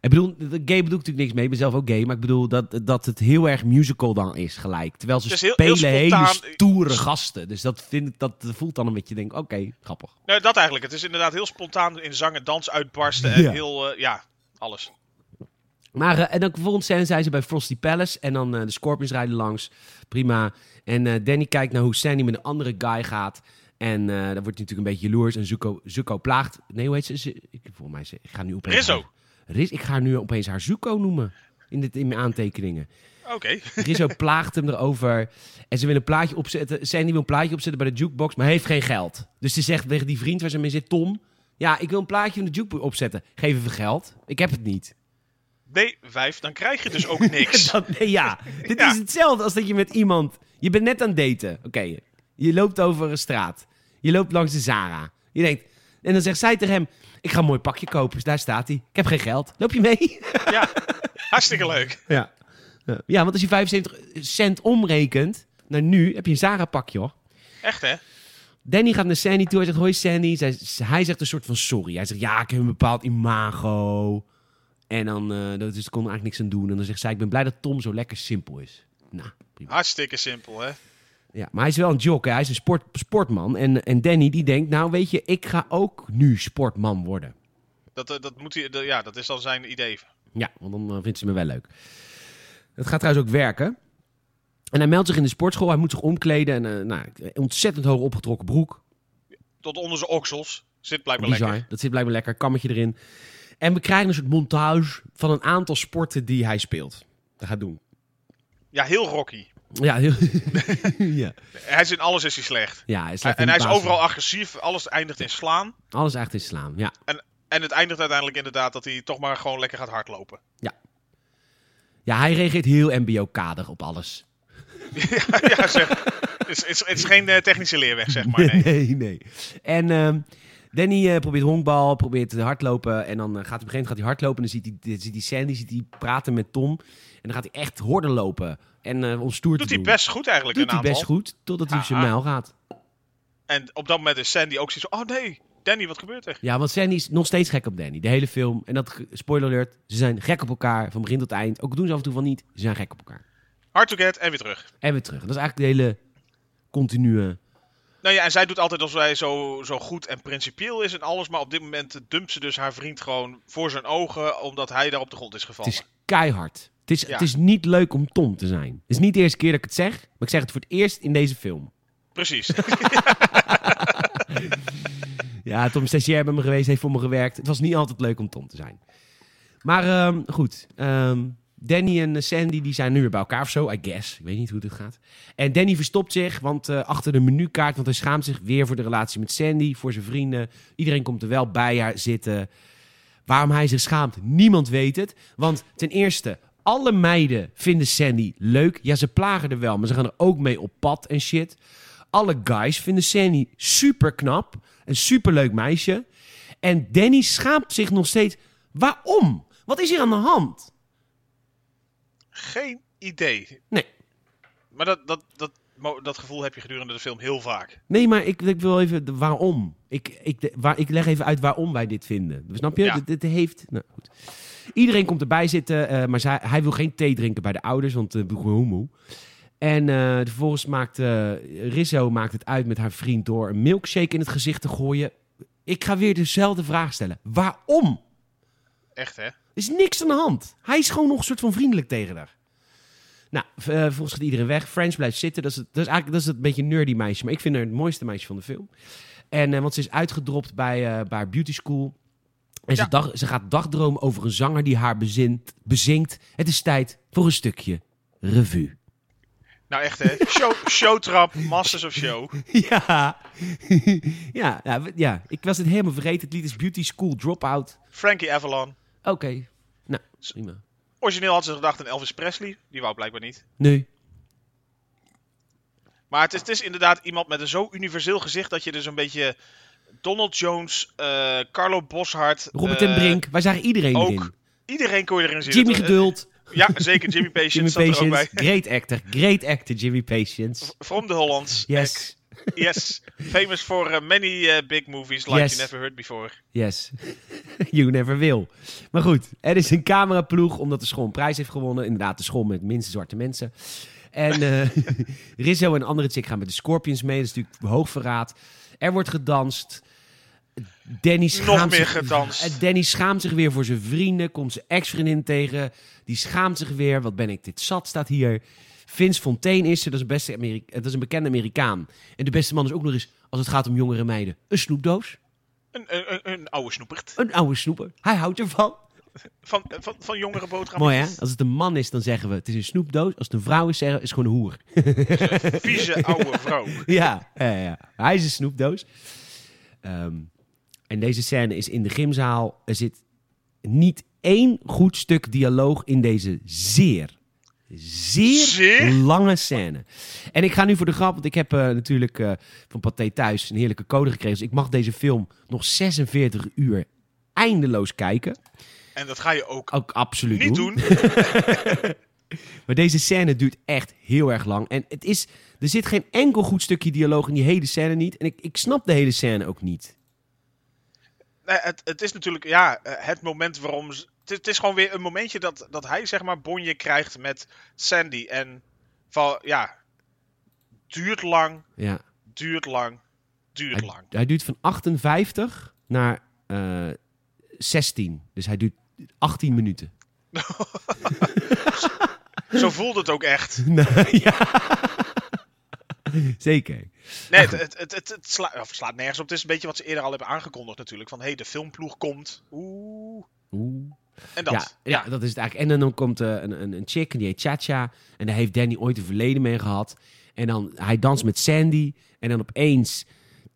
[SPEAKER 1] Ik bedoel, de- de gay bedoel ik natuurlijk niks mee. Ik ben zelf ook gay. Maar ik bedoel dat, dat het heel erg musical dan is gelijk. Terwijl ze
[SPEAKER 2] Het is heel-
[SPEAKER 1] spelen
[SPEAKER 2] heel
[SPEAKER 1] hele
[SPEAKER 2] spontaan.
[SPEAKER 1] stoere gasten. Dus dat, vind ik, dat voelt dan een beetje, denk ik, oké, grappig.
[SPEAKER 2] Nou, dat eigenlijk. Het is inderdaad heel spontaan in zang en dans uitbarsten en
[SPEAKER 1] Ja.
[SPEAKER 2] heel, eh, ja, alles.
[SPEAKER 1] Maar eh, en dan vervolgens zijn, zijn ze bij Frosty Palace en dan eh, de Scorpions rijden langs. Prima. En eh, Danny kijkt naar hoe Sandy met een andere guy gaat. En eh dan wordt hij natuurlijk een beetje jaloers. En Zuko, Zuko plaagt. Nee, hoe heet ze? Ze- ik, volgens mij, ze, ik ga nu opeens.
[SPEAKER 2] Rizzo.
[SPEAKER 1] haar- Riz, ik ga haar nu opeens haar Zuko noemen. In, dit, in mijn aantekeningen.
[SPEAKER 2] Oké.
[SPEAKER 1] Rizzo plaagt hem erover. En ze wil een plaatje opzetten. Sandy wil een plaatje opzetten bij de jukebox, maar heeft geen geld. Dus ze zegt tegen die vriend waar ze mee zit, Tom. Ja, ik wil een plaatje van de jukebox opzetten. Geef even geld. Ik heb het niet.
[SPEAKER 2] Nee, vijf, dan krijg je dus ook niks.
[SPEAKER 1] Dat, nee, ja, dit
[SPEAKER 2] Ja.
[SPEAKER 1] is hetzelfde als dat je met iemand... Je bent net aan het daten. Oké, je loopt over een straat. Je loopt langs de Zara. Je denkt... En dan zegt zij tegen hem... Ik ga een mooi pakje kopen. Dus daar staat hij. Ik heb geen geld. Loop je mee?
[SPEAKER 2] Ja, hartstikke leuk.
[SPEAKER 1] Ja. Ja, want als je 75 cent omrekent naar nu... heb je een Zara-pakje, hoor.
[SPEAKER 2] Echt, hè?
[SPEAKER 1] Danny gaat naar Sandy toe. Hij zegt, hoi Sandy. Zij, hij zegt een soort van sorry. Hij zegt, ja, ik heb een bepaald imago. En dan... eh dat, dus ik kon er eigenlijk niks aan doen. En dan zegt zij, ik ben blij dat Tom zo lekker simpel is. Nou, prima.
[SPEAKER 2] Hartstikke simpel, hè?
[SPEAKER 1] Ja, maar hij is wel een jock, hè. hij is een sport, sportman. En, en Danny die denkt, nou weet je, ik ga ook nu sportman worden.
[SPEAKER 2] Dat, eh, dat, moet hij, dat- ja, dat is dan zijn idee.
[SPEAKER 1] Ja, want dan eh, vindt ze me wel leuk. Het gaat trouwens ook werken. En hij meldt zich in de sportschool, hij moet zich omkleden. En, eh, nou, een ontzettend hoog opgetrokken broek.
[SPEAKER 2] Tot onder zijn oksels. Zit blijkbaar
[SPEAKER 1] Bizar,
[SPEAKER 2] lekker.
[SPEAKER 1] dat zit blijkbaar lekker, kammetje erin. En we krijgen een soort montage van een aantal sporten die hij speelt. Dat gaat doen.
[SPEAKER 2] Ja, heel rocky.
[SPEAKER 1] Ja, heel... ja.
[SPEAKER 2] Hij is in alles is hij slecht.
[SPEAKER 1] ja hij is slecht in
[SPEAKER 2] en hij
[SPEAKER 1] de
[SPEAKER 2] is
[SPEAKER 1] basis.
[SPEAKER 2] overal agressief. Alles eindigt in slaan.
[SPEAKER 1] Alles echt in slaan, ja.
[SPEAKER 2] En het eindigt uiteindelijk inderdaad dat hij toch maar gewoon lekker gaat hardlopen.
[SPEAKER 1] Ja, hij reageert heel mbo-kader op alles.
[SPEAKER 2] ja, zeg. Het is, het is, het is geen eh, technische leerweg, zeg maar. Nee.
[SPEAKER 1] nee, nee. En ehm, Danny eh, probeert honkbal, probeert te hardlopen. En dan eh, gaat op een gegeven moment gaat hij hardlopen. En dan ziet hij, dan ziet hij Sandy ziet hij praten met Tom. En dan gaat hij echt horden lopen. En eh om stoer
[SPEAKER 2] Doet
[SPEAKER 1] te
[SPEAKER 2] hij
[SPEAKER 1] doen.
[SPEAKER 2] best goed eigenlijk
[SPEAKER 1] Doet
[SPEAKER 2] een
[SPEAKER 1] hij
[SPEAKER 2] aantal.
[SPEAKER 1] best goed, totdat hij op zijn
[SPEAKER 2] Ja.
[SPEAKER 1] mijl gaat.
[SPEAKER 2] En op dat moment is Sandy ook zoiets van, oh nee, Danny, wat gebeurt er?
[SPEAKER 1] Ja, want Sandy is nog steeds gek op Danny. De hele film. En dat, ge- spoiler alert, ze zijn gek op elkaar. Van begin tot eind. Ook al doen ze af en toe van niet, ze zijn gek op elkaar.
[SPEAKER 2] Hard to get en weer terug.
[SPEAKER 1] En weer terug. En dat is eigenlijk de hele continue...
[SPEAKER 2] Nou ja, en zij doet altijd alsof zij zo, zo goed en principieel is en alles. Maar op dit moment dumpt ze dus haar vriend gewoon voor zijn ogen, omdat hij daar op de grond is
[SPEAKER 1] Het
[SPEAKER 2] gevallen.
[SPEAKER 1] is keihard. Het is,
[SPEAKER 2] Ja.
[SPEAKER 1] het is niet leuk om Tom te zijn. Het is niet de eerste keer dat ik het zeg. Maar ik zeg het voor het eerst in deze film.
[SPEAKER 2] Precies.
[SPEAKER 1] Ja, Tom is stagiair bij me geweest, heeft voor me gewerkt. Het was niet altijd leuk om Tom te zijn. Maar ehm, goed, ehm, Danny en eh, Sandy die zijn nu weer bij elkaar of zo, I guess. Ik weet niet hoe dit gaat. En Danny verstopt zich want, eh, achter de menukaart, want hij schaamt zich weer voor de relatie met Sandy, voor zijn vrienden. Iedereen komt er wel bij haar zitten. Waarom hij zich schaamt, niemand weet het. Want ten eerste, alle meiden vinden Sandy leuk. Ja, ze plagen er wel, maar ze gaan er ook mee op pad en shit. Alle guys vinden Sandy super knap. Een superleuk meisje. En Danny schaamt zich nog steeds. Waarom? Wat is hier aan de hand?
[SPEAKER 2] geen idee.
[SPEAKER 1] Nee.
[SPEAKER 2] Maar dat, dat, dat, mo- dat gevoel heb je gedurende de film heel vaak.
[SPEAKER 1] Nee, maar ik, ik wil even de- waarom. Ik, ik, de- waar, ik leg even uit waarom wij dit vinden. Snap je?
[SPEAKER 2] Ja.
[SPEAKER 1] Dit, dit heeft. Nou, goed. Iedereen komt erbij zitten, eh, maar zij, hij wil geen thee drinken bij de ouders, want eh boe, hoe moe. En eh, vervolgens maakt eh, Rizzo maakt het uit met haar vriend door een milkshake in het gezicht te gooien. Ik ga weer dezelfde vraag stellen. Waarom?
[SPEAKER 2] Echt, hè?
[SPEAKER 1] Er is niks aan de hand. Hij is gewoon nog een soort van vriendelijk tegen haar. Nou, v- eh, vervolgens gaat iedereen weg. Friends blijft zitten. Dat is, het, dat is eigenlijk dat is het beetje nerdy meisje. Maar ik vind haar het mooiste meisje van de film. En, eh, want ze is uitgedropt bij, eh, bij haar beauty school. En
[SPEAKER 2] Ja.
[SPEAKER 1] ze, dag, ze gaat dagdromen over een zanger die haar bezint, bezinkt. Het is tijd voor een stukje revue.
[SPEAKER 2] Nou, echt, hè? Show, showtrap, Masters of Show.
[SPEAKER 1] Ja. ja, ja, w- ja, ik was het helemaal vergeten. Het lied is Beauty School Dropout.
[SPEAKER 2] Frankie Avalon.
[SPEAKER 1] Oké. Nou, prima.
[SPEAKER 2] Origineel had ze gedacht aan Elvis Presley. Die wou blijkbaar niet.
[SPEAKER 1] Nee.
[SPEAKER 2] Maar het is, het is inderdaad iemand met een zo universeel gezicht dat je dus een beetje Donald Jones, eh, Carlo Boshart,
[SPEAKER 1] Robert
[SPEAKER 2] eh,
[SPEAKER 1] en Brink. Wij zagen iedereen
[SPEAKER 2] ook
[SPEAKER 1] erin.
[SPEAKER 2] Iedereen kon je erin zien.
[SPEAKER 1] Jimmy
[SPEAKER 2] Dat- eh,
[SPEAKER 1] Geduld.
[SPEAKER 2] Ja, zeker. Jimmy Patience
[SPEAKER 1] Jimmy
[SPEAKER 2] zat er ook
[SPEAKER 1] Patience,
[SPEAKER 2] bij.
[SPEAKER 1] great actor, great actor Jimmy Patience.
[SPEAKER 2] From the Hollands.
[SPEAKER 1] Yes,
[SPEAKER 2] Eh, yes. Famous for eh, many eh, big movies like
[SPEAKER 1] Yes.
[SPEAKER 2] you never heard before.
[SPEAKER 1] yes. you never will. Maar goed, er is een cameraploeg omdat de school een prijs heeft gewonnen. Inderdaad, de school met minste zwarte mensen. En eh, Rizzo en een andere chick gaan met de Scorpions mee. Dat is natuurlijk hoogverraad. Er wordt gedanst. Danny schaamt,
[SPEAKER 2] meer
[SPEAKER 1] zich,
[SPEAKER 2] gedanst.
[SPEAKER 1] Eh, Danny schaamt zich weer voor zijn vrienden. Komt zijn ex-vriendin tegen. Die schaamt zich weer. Wat ben ik dit zat, staat hier. Vince Fontaine is er. Dat is, een beste Ameri- eh, dat is een bekende Amerikaan. En de beste man is ook nog eens, als het gaat om jongere meiden, een snoepdoos.
[SPEAKER 2] Een, een, een, een oude snoepert.
[SPEAKER 1] Een oude snoeper. Hij houdt ervan.
[SPEAKER 2] Van, van, van jongere boterhammen.
[SPEAKER 1] Mooi hè? Als het een man is, dan zeggen we het is een snoepdoos. Als het een vrouw is, zeggen we het is gewoon een hoer.
[SPEAKER 2] Vieze oude vrouw.
[SPEAKER 1] ja, ja, ja. hij is een snoepdoos. Ehm, en deze scène is in de gymzaal. Er zit niet één goed stuk dialoog in deze zeer, zeer,
[SPEAKER 2] Zeer?
[SPEAKER 1] lange scène. En ik ga nu voor de grap, want ik heb eh, natuurlijk eh, van Pathé thuis een heerlijke code gekregen. Dus ik mag deze film nog 46 uur eindeloos kijken.
[SPEAKER 2] En dat ga je ook
[SPEAKER 1] Ook absoluut
[SPEAKER 2] niet doen.
[SPEAKER 1] Maar deze scène duurt echt heel erg lang. En het is, er zit geen enkel goed stukje dialoog in die hele scène niet. En ik, ik snap de hele scène ook niet.
[SPEAKER 2] Nee, het, het is natuurlijk ja, eh, het moment waarom. ze- Het, is- het is gewoon weer een momentje dat, dat hij, zeg maar, bonje krijgt met Sandy. En van ja. Duurt lang,
[SPEAKER 1] Ja.
[SPEAKER 2] duurt lang, duurt
[SPEAKER 1] Hij,
[SPEAKER 2] lang.
[SPEAKER 1] hij duurt van 58 naar eh, 16. Dus hij duurt 18 minuten.
[SPEAKER 2] Zo voelt het ook echt.
[SPEAKER 1] Nou, ja. Zeker.
[SPEAKER 2] Nee, het, het, het, het, het sla- of slaat nergens op. Het is een beetje wat ze eerder al hebben aangekondigd, natuurlijk. Van hé, hey, de filmploeg komt. Oeh.
[SPEAKER 1] Oeh.
[SPEAKER 2] En dat.
[SPEAKER 1] Ja, ja, dat is het eigenlijk. En dan komt eh, een, een, een chick en die heet Cha-Cha. En daar heeft Danny ooit een verleden mee gehad. En dan, hij danst met Sandy. En dan opeens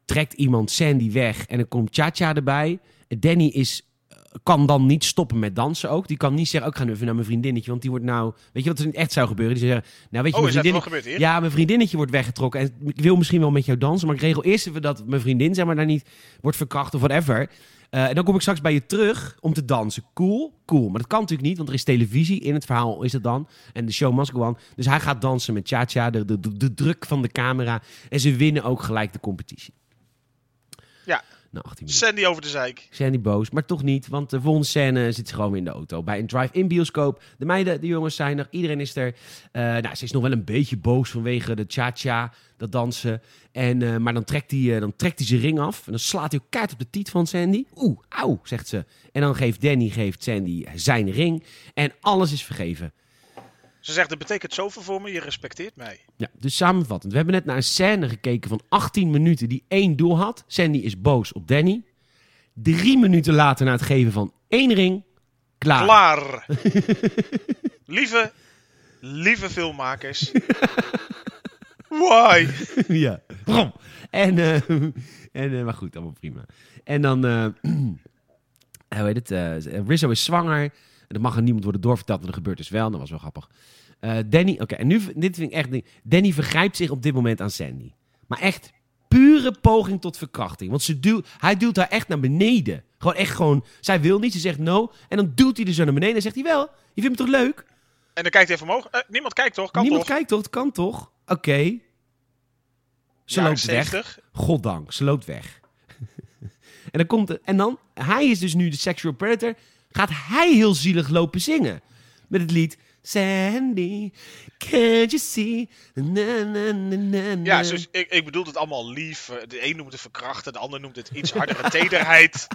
[SPEAKER 1] trekt iemand Sandy weg. En dan komt Cha-Cha erbij. En Danny is, eh, kan dan niet stoppen met dansen ook. Die kan niet zeggen, ook ik ga nu even naar mijn vriendinnetje. Want die wordt nou... Weet je wat er echt zou gebeuren? Die zou zeggen, nou weet je,
[SPEAKER 2] Oh,
[SPEAKER 1] mijn
[SPEAKER 2] is dat
[SPEAKER 1] vriendinnetje-
[SPEAKER 2] wel gebeurd hier?
[SPEAKER 1] ja, mijn vriendinnetje wordt weggetrokken. En ik wil misschien wel met jou dansen. Maar ik regel eerst even dat mijn vriendin, zeg maar, daar niet wordt verkracht of whatever. Eh, en dan kom ik straks bij je terug om te dansen. Cool, cool. Maar dat kan natuurlijk niet, want er is televisie. In het verhaal is het dan. En de show must go on. Dus hij gaat dansen met Cha-Cha. De, de, de, de druk van de camera. En ze winnen ook gelijk de competitie.
[SPEAKER 2] Ja.
[SPEAKER 1] Nou, 18 minuten.
[SPEAKER 2] Sandy over de zeik.
[SPEAKER 1] Zijn die boos, maar toch niet, want de volgende scène zit ze gewoon weer in de auto. Bij een drive-in bioscoop. De meiden, de jongens zijn er, iedereen is er. Eh, nou, ze is nog wel een beetje boos vanwege de cha-cha, dat dansen. En, eh, maar dan trekt, hij, eh, dan trekt hij zijn ring af en dan slaat hij ook kaart op de tiet van Sandy. Oeh, auw, zegt ze. En dan geeft Danny geeft Sandy zijn ring en alles is vergeven.
[SPEAKER 2] Ze zegt, dat betekent zoveel voor me, je respecteert mij.
[SPEAKER 1] Ja, dus samenvattend. We hebben net naar een scène gekeken van 18 minuten die één doel had. Sandy is boos op Danny. Drie minuten later na het geven van één ring, klaar.
[SPEAKER 2] Klaar. lieve, lieve filmmakers. Why?
[SPEAKER 1] ja. Brom. En, eh, en eh, maar goed, allemaal prima. En dan, eh hoe heet het? eh, Rizzo is zwanger. En dat mag aan niemand worden doorverteld, maar dat gebeurt dus wel. Dat was wel grappig. Eh, Danny, oké, en nu, dit vind ik echt, ding. Danny vergrijpt zich op dit moment aan Sandy. Maar echt pure poging tot verkrachting. Want ze duw, hij duwt haar echt naar beneden. Gewoon echt gewoon, zij wil niet, ze zegt no. En dan duwt hij er zo naar beneden en zegt hij wel, je vindt me toch leuk?
[SPEAKER 2] En dan kijkt hij even omhoog. Eh, niemand kijkt toch? Kan
[SPEAKER 1] Niemand
[SPEAKER 2] toch?
[SPEAKER 1] kijkt toch, het kan toch? Oké. Ze
[SPEAKER 2] Jaren
[SPEAKER 1] loopt weg.
[SPEAKER 2] 70.
[SPEAKER 1] Goddank, ze loopt weg. en dan komt de- en dan, hij is dus nu de sexual predator. Gaat hij heel zielig lopen zingen met het lied Sandy, can't you see? Na, na, na, na, na.
[SPEAKER 2] Ja, dus ik, ik bedoel het allemaal lief. Eh, De een noemt het verkrachten, de ander noemt het iets hardere tederheid.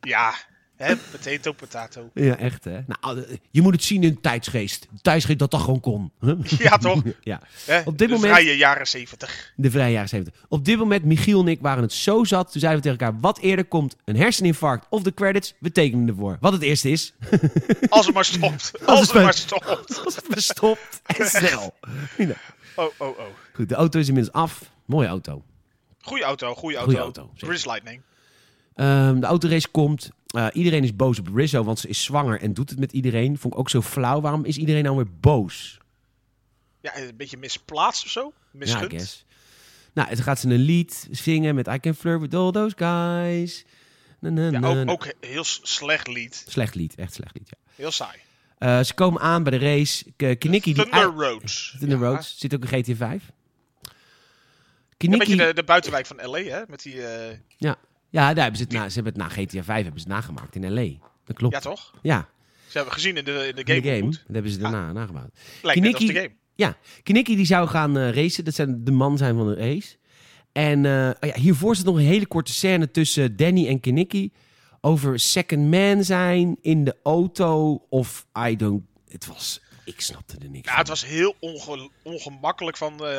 [SPEAKER 2] Ja, hè, potato, potato.
[SPEAKER 1] Ja, echt hè. Nou, je moet het zien in de tijdsgeest. De tijdsgeest dat dat gewoon kon. Huh?
[SPEAKER 2] Ja, toch?
[SPEAKER 1] ja.
[SPEAKER 2] Hè,
[SPEAKER 1] Op dit
[SPEAKER 2] de
[SPEAKER 1] moment-
[SPEAKER 2] vrije jaren 70.
[SPEAKER 1] De vrije jaren 70. Op dit moment, Michiel en ik waren het zo zat. Toen zeiden we tegen elkaar, wat eerder komt, een herseninfarct of de credits, we tekenen ervoor. Wat het eerste is,
[SPEAKER 2] Als het maar stopt.
[SPEAKER 1] Als
[SPEAKER 2] Als
[SPEAKER 1] het
[SPEAKER 2] het
[SPEAKER 1] maar-
[SPEAKER 2] maar stopt.
[SPEAKER 1] als het verstopt en snel. Ja.
[SPEAKER 2] Oh, oh, oh.
[SPEAKER 1] Goed, de auto is inmiddels af. Mooie auto.
[SPEAKER 2] Goeie auto, goeie auto.
[SPEAKER 1] Goeie auto, zeker.
[SPEAKER 2] Bridge Lightning.
[SPEAKER 1] Ehm, de autorace komt. Eh, iedereen is boos op Rizzo, want ze is zwanger en doet het met iedereen. Vond ik ook zo flauw. Waarom is iedereen nou weer boos?
[SPEAKER 2] Ja, een beetje misplaatst of zo.
[SPEAKER 1] Ja, I
[SPEAKER 2] Misgund.
[SPEAKER 1] guess. Nou, en dan gaat ze een lied zingen met I can flirt with all those guys. Na, na,
[SPEAKER 2] Ja,
[SPEAKER 1] na.
[SPEAKER 2] ook, ook een heel s- slecht lied.
[SPEAKER 1] Slecht lied, echt slecht lied, ja.
[SPEAKER 2] Heel saai.
[SPEAKER 1] Eh, ze komen aan bij de race. K- Kinnicky... die
[SPEAKER 2] Thunder
[SPEAKER 1] ei-
[SPEAKER 2] Road.
[SPEAKER 1] Thunder
[SPEAKER 2] Ja.
[SPEAKER 1] Roads. Zit ook in GT 5.
[SPEAKER 2] Een beetje
[SPEAKER 1] Kinnicky...
[SPEAKER 2] de, de buitenwijk van L.A., hè? Met die, eh,
[SPEAKER 1] Ja, ja daar hebben ze, het na, ze hebben het na GTA 5 hebben ze het nagemaakt in L.A. Dat klopt.
[SPEAKER 2] Ja, toch?
[SPEAKER 1] Ja,
[SPEAKER 2] Ze hebben gezien in de, in de
[SPEAKER 1] in
[SPEAKER 2] game.
[SPEAKER 1] de game. Dat
[SPEAKER 2] hoe het moet.
[SPEAKER 1] hebben ze daarna nagebouwd.
[SPEAKER 2] Lijkt net als de
[SPEAKER 1] Kinnicky-
[SPEAKER 2] game.
[SPEAKER 1] Ja, Kinnicky die zou gaan eh, racen. Dat zijn de man zijn van de race. En eh, oh ja, hiervoor zit nog een hele korte scène tussen Danny en Kinnicky. Over second man zijn in de auto of I don't... Het was... Ik snapte er niks
[SPEAKER 2] Ja,
[SPEAKER 1] van.
[SPEAKER 2] het was heel onge- ongemakkelijk van... eh,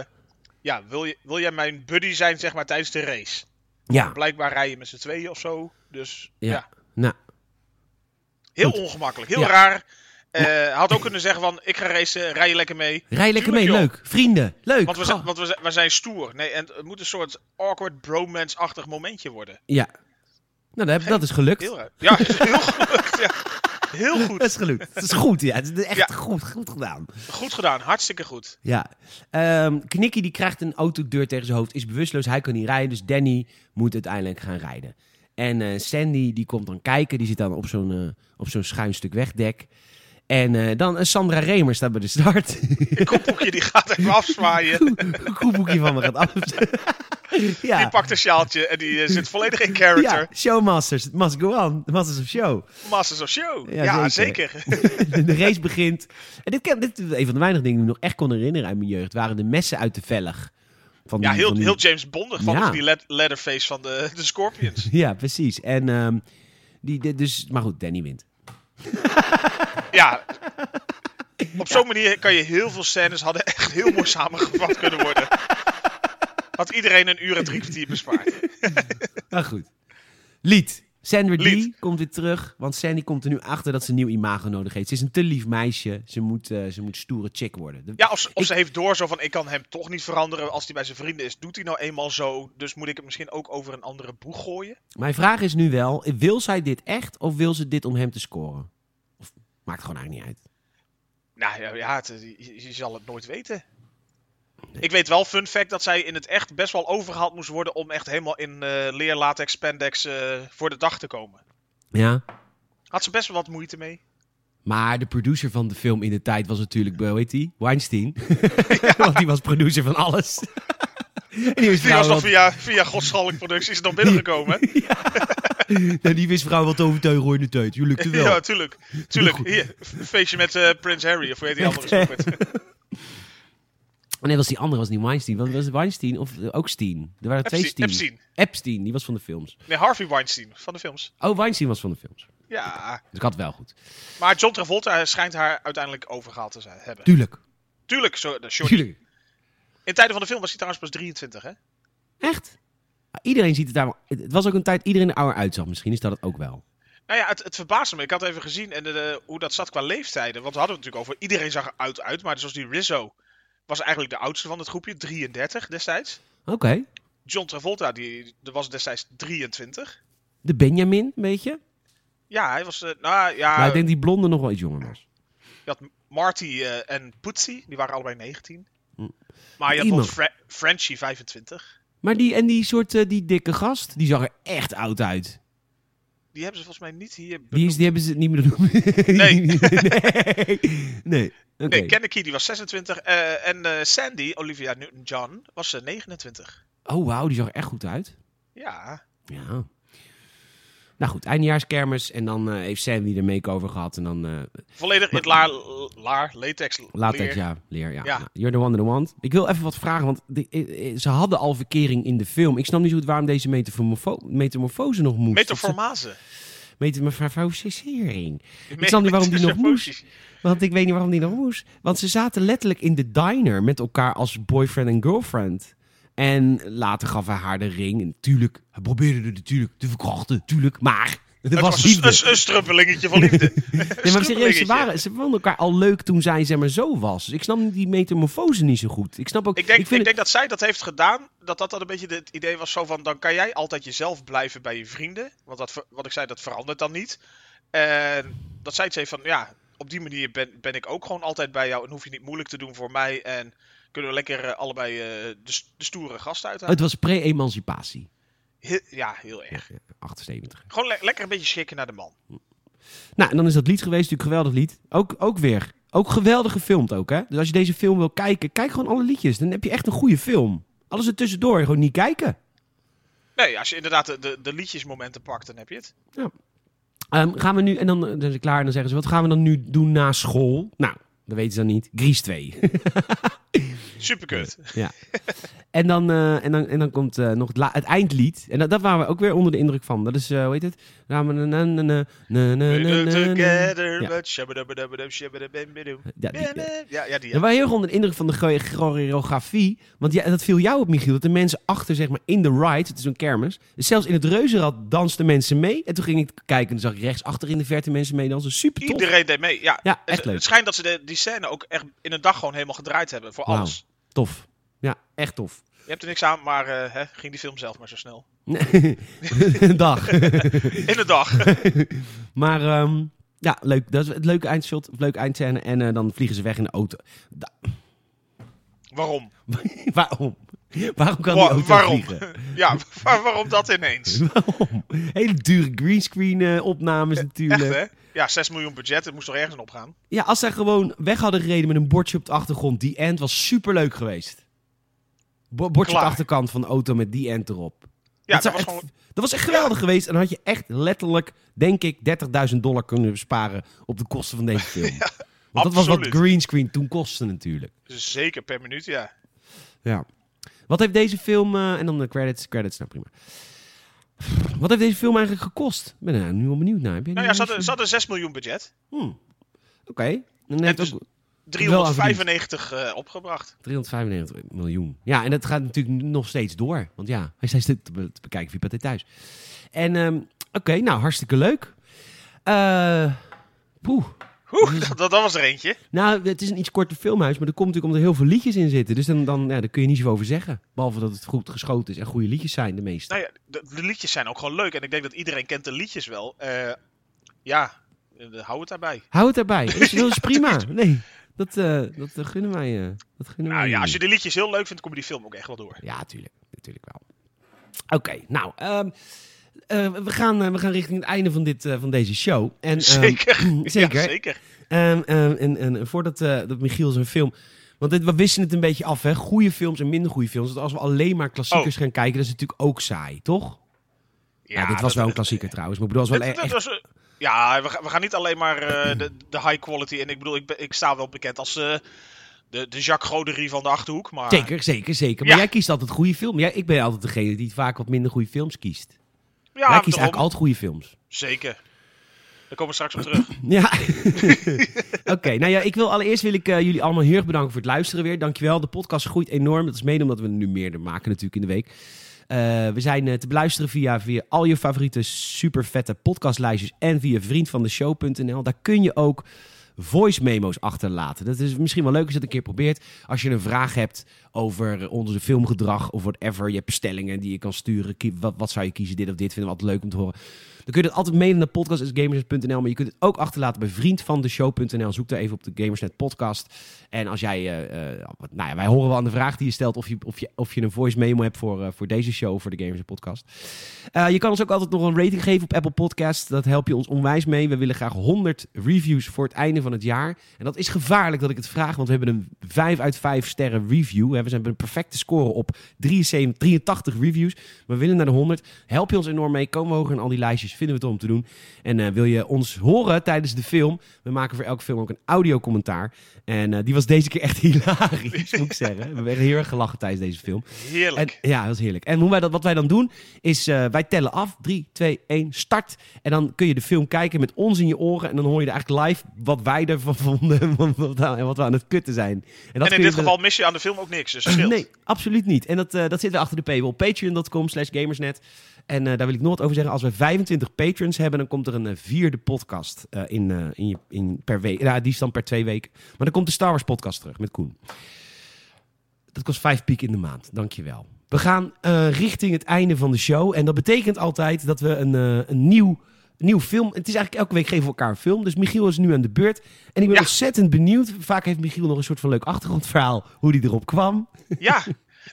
[SPEAKER 2] ja, wil, je, wil jij mijn buddy zijn, zeg maar, tijdens de race?
[SPEAKER 1] Ja,
[SPEAKER 2] Blijkbaar rij je met z'n tweeën of zo. Dus
[SPEAKER 1] Ja.
[SPEAKER 2] ja,
[SPEAKER 1] nou,
[SPEAKER 2] heel
[SPEAKER 1] Goed.
[SPEAKER 2] ongemakkelijk. Heel
[SPEAKER 1] Ja.
[SPEAKER 2] raar. Eh, had ook kunnen zeggen van, ik ga racen, rij je lekker mee.
[SPEAKER 1] rij lekker mee.
[SPEAKER 2] Tuurlijk, joh.
[SPEAKER 1] Leuk. Oh. Vrienden. Leuk.
[SPEAKER 2] Want we,
[SPEAKER 1] Goh.
[SPEAKER 2] zijn, want we zijn, we zijn stoer. Nee, en het moet een soort awkward bromance-achtig momentje worden.
[SPEAKER 1] Ja. Nou, dat, dat is gelukt.
[SPEAKER 2] Heel raar. Ja, heel goed. Ja. Heel
[SPEAKER 1] Dat
[SPEAKER 2] goed.
[SPEAKER 1] is gelukt. Het is goed, ja. Het is echt
[SPEAKER 2] Ja.
[SPEAKER 1] goed, goed gedaan.
[SPEAKER 2] Goed gedaan. Hartstikke goed.
[SPEAKER 1] Ja. Ehm Knicky die krijgt een autodeur tegen zijn hoofd, is bewusteloos, hij kan niet rijden. Dus Danny moet uiteindelijk gaan rijden. En eh, Sandy die komt dan kijken, die zit dan op zo'n eh, op zo'n schuin stuk wegdek. En eh, dan eh, Sandra Remer staat bij de start.
[SPEAKER 2] Ik koppeltje die gaat even afzwaaien.
[SPEAKER 1] Een koeboekje van me gaat af. ja.
[SPEAKER 2] Die pakt een sjaaltje en die eh, zit volledig in character.
[SPEAKER 1] ja, showmasters. It must go on. The masters of show.
[SPEAKER 2] Masters of Show.
[SPEAKER 1] Ja,
[SPEAKER 2] Ja,
[SPEAKER 1] zeker.
[SPEAKER 2] zeker.
[SPEAKER 1] de, de race begint. En dit, ken- dit is een van de weinige dingen die ik me nog echt kon herinneren uit mijn jeugd. Waren de messen uit de velg. Van
[SPEAKER 2] Ja,
[SPEAKER 1] die-
[SPEAKER 2] heel,
[SPEAKER 1] van die-
[SPEAKER 2] heel James Bondig van
[SPEAKER 1] Ja.
[SPEAKER 2] die led- Leatherface van de, de Scorpions.
[SPEAKER 1] Ja, precies. En ehm, die, de- dus, maar goed, Danny wint.
[SPEAKER 2] Ja. Op zo'n manier kan je heel veel scènes hadden echt heel mooi samengevat kunnen worden. Had iedereen een uur en drie kwartier bespaard.
[SPEAKER 1] Maar goed. Lied. Sandra
[SPEAKER 2] Ah, Lied.
[SPEAKER 1] D komt weer terug, want Sandy komt er nu achter dat ze een nieuw imago nodig heeft. Ze is een te lief meisje, ze moet, eh, ze moet stoere chick worden. De-
[SPEAKER 2] Ja, of, ze- of
[SPEAKER 1] Ik-
[SPEAKER 2] ze heeft door zo van, ik kan hem toch niet veranderen. Als hij bij zijn vrienden is, doet hij nou eenmaal zo. Dus moet ik het misschien ook over een andere boeg gooien?
[SPEAKER 1] Mijn vraag is nu wel, wil zij dit echt of wil ze dit om hem te scoren? Of, maakt gewoon eigenlijk niet uit.
[SPEAKER 2] Nou ja, ja het- je, je zal het nooit weten. Ik weet wel, fun fact, dat zij in het echt best wel overgehaald moest worden om echt helemaal in eh leer, latex, spandex eh, voor de dag te komen.
[SPEAKER 1] Ja,
[SPEAKER 2] Had ze best wel wat moeite mee.
[SPEAKER 1] maar de producer van de film in de tijd was natuurlijk, eh, hoe heet die? Weinstein. want die was producer van alles. En die wist
[SPEAKER 2] Die
[SPEAKER 1] vrouw
[SPEAKER 2] was nog
[SPEAKER 1] wel,
[SPEAKER 2] Nou, via, via Godsschalk Producties nog binnengekomen. hè?
[SPEAKER 1] nou, die wist vrouw wel te overtuigen hoor in de tijd. Je lukte wel.
[SPEAKER 2] Ja, tuurlijk. Tuurlijk. Hier, f- feestje met eh Prins Harry, of hoe heet die andere snoepert?
[SPEAKER 1] Oh, nee, was die andere was niet Weinstein. Want was het Weinstein of eh, ook Steen? Er waren twee
[SPEAKER 2] Epstein.
[SPEAKER 1] Steen.
[SPEAKER 2] Epstein.
[SPEAKER 1] Epstein, die was van de films.
[SPEAKER 2] Nee, Harvey Weinstein van de films.
[SPEAKER 1] Oh, Weinstein was van de films.
[SPEAKER 2] Ja,
[SPEAKER 1] Dus ik had het wel goed.
[SPEAKER 2] maar John Travolta schijnt haar uiteindelijk overgehaald te zijn, hebben.
[SPEAKER 1] Tuurlijk.
[SPEAKER 2] Tuurlijk, zo, de Johnny.
[SPEAKER 1] Tuurlijk.
[SPEAKER 2] In tijden van de film was hij trouwens pas 23, hè?
[SPEAKER 1] Echt? Iedereen ziet het daar. wel- Het het was ook een tijd iedereen er ouder uitzag. Misschien is dat het ook wel.
[SPEAKER 2] Nou ja, het, het verbaasde me. Ik had even gezien en, eh, hoe dat zat qua leeftijden. Want we hadden het natuurlijk over, iedereen zag er oud uit. Maar zoals die Rizzo was eigenlijk de oudste van het groepje, 33 destijds.
[SPEAKER 1] Oké.
[SPEAKER 2] John Travolta, die, die was destijds 23.
[SPEAKER 1] De Benjamin, een beetje.
[SPEAKER 2] Ja, hij was, eh, nou ja,
[SPEAKER 1] maar ik denk die blonde nog wel iets jonger was.
[SPEAKER 2] je had Marty eh, en Pootsie, die waren allebei 19. Maar je had
[SPEAKER 1] Mm. Iemand.
[SPEAKER 2] nog Fra Frenchie, 25.
[SPEAKER 1] Maar die en die soort eh, die dikke gast, die zag er echt oud uit.
[SPEAKER 2] Die hebben ze volgens mij niet hier
[SPEAKER 1] Die, is, die hebben ze niet meer doen. nee. nee. Nee. Oké.
[SPEAKER 2] Nee, Kennedy die was 26 eh, en eh, Sandy, Olivia Newton-John, was eh, 29.
[SPEAKER 1] Oh wauw, die zag er echt goed uit.
[SPEAKER 2] Ja.
[SPEAKER 1] Ja. Nou goed, eindejaarskermis. En dan eh, heeft Sandy er make-over gehad. En dan eh
[SPEAKER 2] Volledig in het laar, laar latex.
[SPEAKER 1] latex,
[SPEAKER 2] leer.
[SPEAKER 1] ja, leer. Ja.
[SPEAKER 2] Ja.
[SPEAKER 1] Nou, You're the one in the want. Ik wil even wat vragen, want die- eh, eh, ze hadden al verkering in de film. Ik snap niet zo goed waarom deze metamorfo- metamorfose nog moest.
[SPEAKER 2] Metaformase.
[SPEAKER 1] Metamorfosering. Ik snap niet waarom die nog moest.
[SPEAKER 2] Metamorfosis.
[SPEAKER 1] Want ik weet niet waarom die nog moest. Want ze zaten letterlijk in de diner met elkaar als boyfriend en girlfriend. En later gaf hij haar de ring. En tuurlijk, hij probeerde er natuurlijk te verkrachten. Tuurlijk, maar... Het,
[SPEAKER 2] Het
[SPEAKER 1] was
[SPEAKER 2] was een,
[SPEAKER 1] liefde.
[SPEAKER 2] een, een struppelingetje van liefde.
[SPEAKER 1] Nee, maar serieus, ze,
[SPEAKER 2] Struppelingetje.
[SPEAKER 1] waren, ze vonden elkaar al leuk toen zij zeg maar, zo was. Dus ik snap die metamorfose niet zo goed. Ik snap ook...
[SPEAKER 2] Ik denk, ik
[SPEAKER 1] vind
[SPEAKER 2] denk dat zij dat heeft gedaan, dat dat dan een beetje het idee was zo van, dan kan jij altijd jezelf blijven bij je vrienden. Want dat, ver- wat ik zei, dat verandert dan niet. En dat zij het heeft van, ja, op die manier ben, ben ik ook gewoon altijd bij jou en hoef je niet moeilijk te doen voor mij. En kunnen we lekker eh, allebei eh, de, s- de stoere gast
[SPEAKER 1] het-
[SPEAKER 2] uithalen.
[SPEAKER 1] Het was pre-emancipatie.
[SPEAKER 2] He- ja, heel erg.
[SPEAKER 1] 78.
[SPEAKER 2] Gewoon le- lekker een beetje schikken naar de man.
[SPEAKER 1] Nou, en dan is dat lied geweest. Natuurlijk een geweldig lied. Ook, ook weer. Ook geweldig gefilmd ook, hè. Dus als je deze film wil kijken, kijk gewoon alle liedjes. Dan heb je echt een goede film. Alles er tussendoor, gewoon niet kijken.
[SPEAKER 2] Nee, als je inderdaad de, de, de liedjesmomenten pakt, dan heb je het.
[SPEAKER 1] Ehm, gaan we nu... En dan, eh, dan zijn ze klaar en dan zeggen ze... Wat gaan we dan nu doen na school? Nou, dat weten ze dan niet. Grease 2.
[SPEAKER 2] Superkut.
[SPEAKER 1] Ja. en, dan, eh, en, dan, en dan komt eh, nog het, la- het eindlied. En dat, dat waren we ook weer onder de indruk van. Dat is, eh, hoe heet het? Na- na- na- na- na- na- na- na-
[SPEAKER 2] We're
[SPEAKER 1] na- na.
[SPEAKER 2] together,
[SPEAKER 1] Ja.
[SPEAKER 2] but shabba-dabba-dabba-dab, shabba-dabba-dabba-dab.
[SPEAKER 1] Ja, die, eh.
[SPEAKER 2] Ja, ja, die.
[SPEAKER 1] We
[SPEAKER 2] ja.
[SPEAKER 1] waren heel erg onder de indruk van de chore- choreografie. Want ja, dat viel jou op, Michiel. Dat de mensen achter, zeg maar, in de ride, het is een kermis. Dus zelfs in het reuzenrad dansten mensen mee. En toen ging ik kijken en toen zag ik rechtsachter in de verte mensen mee dansen. Super tof.
[SPEAKER 2] Iedereen deed mee. Ja,
[SPEAKER 1] Ja,
[SPEAKER 2] het,
[SPEAKER 1] echt leuk.
[SPEAKER 2] het schijnt dat ze de- die scène ook echt in een dag gewoon helemaal gedraaid hebben voor
[SPEAKER 1] Wauw.
[SPEAKER 2] alles.
[SPEAKER 1] Tof. Ja, echt tof.
[SPEAKER 2] Je hebt er niks aan, maar eh, hè, ging die film zelf maar zo snel.
[SPEAKER 1] Dag.
[SPEAKER 2] In een dag.
[SPEAKER 1] Maar ehm, ja, leuk. Dat is het leuke eindshot, of leuke eindscène. En eh, dan vliegen ze weg in de auto. Da-
[SPEAKER 2] waarom?
[SPEAKER 1] waarom? Waarom kan die
[SPEAKER 2] Wa-
[SPEAKER 1] auto
[SPEAKER 2] waarom?
[SPEAKER 1] vliegen?
[SPEAKER 2] ja, waar- waarom dat ineens?
[SPEAKER 1] Waarom? Hele dure greenscreen eh, opnames natuurlijk.
[SPEAKER 2] Echt hè? Ja, 6 miljoen budget, het moest toch ergens op gaan?
[SPEAKER 1] Ja, als zij gewoon weg hadden gereden met een bordje op de achtergrond, die end was superleuk geweest. Bo- bordje op
[SPEAKER 2] Klaar.
[SPEAKER 1] de achterkant van de auto met die end erop.
[SPEAKER 2] Ja, dat,
[SPEAKER 1] zou
[SPEAKER 2] was
[SPEAKER 1] echt,
[SPEAKER 2] gewoon...
[SPEAKER 1] dat was echt geweldig geweest. En dan had je echt letterlijk, denk ik, 30.000 dollar kunnen besparen op de kosten van deze film. Want dat was wat
[SPEAKER 2] absoluut.
[SPEAKER 1] greenscreen toen kostte natuurlijk.
[SPEAKER 2] Zeker per minuut, ja.
[SPEAKER 1] Ja. Wat heeft deze film... eh, en dan de credits. Credits, nou prima. Wat heeft deze film eigenlijk gekost? Ik ben er nu wel benieuwd naar. Heb jij
[SPEAKER 2] Nou
[SPEAKER 1] die
[SPEAKER 2] ja, ze hadden,
[SPEAKER 1] film?
[SPEAKER 2] ze hadden 6 miljoen budget.
[SPEAKER 1] Hmm. Oké. Dan heeft
[SPEAKER 2] dus-
[SPEAKER 1] ook
[SPEAKER 2] 395 eh, opgebracht.
[SPEAKER 1] 395 miljoen. Ja, en dat gaat natuurlijk nog steeds door. Want ja, hij is steeds te, be- te bekijken via Pathé Thuis. En ehm, nou hartstikke leuk. Eh poeh.
[SPEAKER 2] Oeh, dat, dat was er eentje.
[SPEAKER 1] Nou, het is een iets korter filmhuis, maar dat komt natuurlijk omdat er heel veel liedjes in zitten. Dus dan, dan ja, daar kun je niet zoveel over zeggen. Behalve dat het goed geschoten is en goede liedjes zijn, de meeste.
[SPEAKER 2] Nou ja, de, de liedjes zijn ook gewoon leuk. En ik denk dat iedereen kent de liedjes wel. Eh, ja, eh, hou het daarbij.
[SPEAKER 1] Hou het daarbij. Is, dat is prima. Nee, dat, eh, dat eh, gunnen wij. eh, dat gunnen
[SPEAKER 2] Nou
[SPEAKER 1] wij
[SPEAKER 2] ja, als je
[SPEAKER 1] jullie.
[SPEAKER 2] de liedjes heel leuk vindt, kom je die film ook echt wel door.
[SPEAKER 1] Ja, tuurlijk. Natuurlijk wel. Oké, nou. ehm, eh, we, gaan, eh, we gaan richting het einde van, dit, eh, van deze show. En, ehm,
[SPEAKER 2] Zeker.
[SPEAKER 1] zeker.
[SPEAKER 2] Ja, zeker.
[SPEAKER 1] Ehm, ehm, en, en, en voordat eh, dat Michiel zijn film. Want dit, we wisten het een beetje af, hè? Goede films en minder goede films. Want als we alleen maar klassiekers gaan kijken, dat is natuurlijk ook saai, toch? Ja, dit was
[SPEAKER 2] Oh. dat-
[SPEAKER 1] wel een klassieker trouwens. Maar ik bedoel, het was
[SPEAKER 2] dat-
[SPEAKER 1] wel e-
[SPEAKER 2] dat
[SPEAKER 1] echt.
[SPEAKER 2] was, eh, ja, we, gaan- we gaan niet alleen maar eh, de, de high quality. En ik bedoel, ik, ben- ik sta wel bekend als eh, de, de Jacques Goderie van de Achterhoek. Maar
[SPEAKER 1] Zeker, zeker, zeker. Maar
[SPEAKER 2] Ja.
[SPEAKER 1] jij kiest altijd goede films. Ja, ik ben altijd degene die vaak wat minder goede films kiest.
[SPEAKER 2] ja,
[SPEAKER 1] jij kiest
[SPEAKER 2] daarom.
[SPEAKER 1] eigenlijk altijd goede films.
[SPEAKER 2] Zeker. Daar komen we straks op terug.
[SPEAKER 1] Ja. Oké, nou ja, ik wil allereerst wil ik eh, jullie allemaal heel erg bedanken voor het luisteren weer. Dankjewel. De podcast groeit enorm. Dat is mede omdat we er nu meerder maken natuurlijk in de week. Eh, we zijn eh, te beluisteren via, via al je favoriete supervette podcastlijstjes en via vriendvandeshow.nl. Daar kun je ook voice memo's achterlaten. Dat is misschien wel leuk als je dat een keer probeert. Als je een vraag hebt over onze filmgedrag of whatever. Je hebt bestellingen die je kan sturen. Kie- Wat, wat zou je kiezen? Dit of dit vinden we altijd leuk om te horen. Dan kun je dat altijd mailen naar podcast.gamers.nl. Maar je kunt het ook achterlaten bij vriendvandeshow.nl. Zoek daar even op de Gamersnet podcast. En als jij... eh, eh, nou ja, wij horen wel aan de vraag die je stelt... of je, of je, of je een voice memo hebt voor, eh, voor deze show, voor de Gamersnet podcast. Eh, je kan ons ook altijd nog een rating geven op Apple Podcast. Dat help je ons onwijs mee. We willen graag 100 reviews voor het einde van het jaar. En dat is gevaarlijk dat ik het vraag, want we hebben een 5 uit 5 sterren review. hè. We zijn bij een perfecte score op 73, 83 reviews. Maar we willen naar de 100. Help je ons enorm mee. Komen we hoger in al die lijstjes. Vinden we het om te doen. En eh, wil je ons horen tijdens de film? We maken voor elke film ook een audiocommentaar. En eh, die was deze keer echt hilarisch, moet ik zeggen. We hebben echt heel erg gelachen tijdens deze film.
[SPEAKER 2] Heerlijk.
[SPEAKER 1] En, ja, dat is heerlijk. En hoe wij dat, wat wij dan doen, is eh, wij tellen af. 3, 2, 1, start. En dan kun je de film kijken met ons in je oren. En dan hoor je er eigenlijk live wat wij ervan vonden. want wat- En wat we aan het kutten zijn. En, dat
[SPEAKER 2] en
[SPEAKER 1] kun
[SPEAKER 2] in
[SPEAKER 1] je
[SPEAKER 2] dit
[SPEAKER 1] dus-
[SPEAKER 2] geval mis je aan de film ook niks. Dus scheelt.
[SPEAKER 1] Nee, absoluut niet. En dat, eh, dat zit weer achter de paywall. Patreon.com slash gamersnet. En eh, daar wil ik nog wat over zeggen. Als we 25 patrons hebben, dan komt er een eh, vierde podcast eh, in, eh, in, je- in, per week. Nou, die is dan per twee weken. Maar dan komt de Star Wars podcast terug met Koen. Dat kost vijf piek in de maand. Dankjewel. We gaan eh, richting het einde van de show. En dat betekent altijd dat we een, eh, een nieuw, nieuw film... Het is eigenlijk elke week geven we elkaar een film. Dus Michiel is nu aan de beurt. En ik ben
[SPEAKER 2] Ja.
[SPEAKER 1] ontzettend benieuwd. Vaak heeft Michiel nog een soort van leuk achtergrondverhaal. Hoe die erop kwam.
[SPEAKER 2] Ja.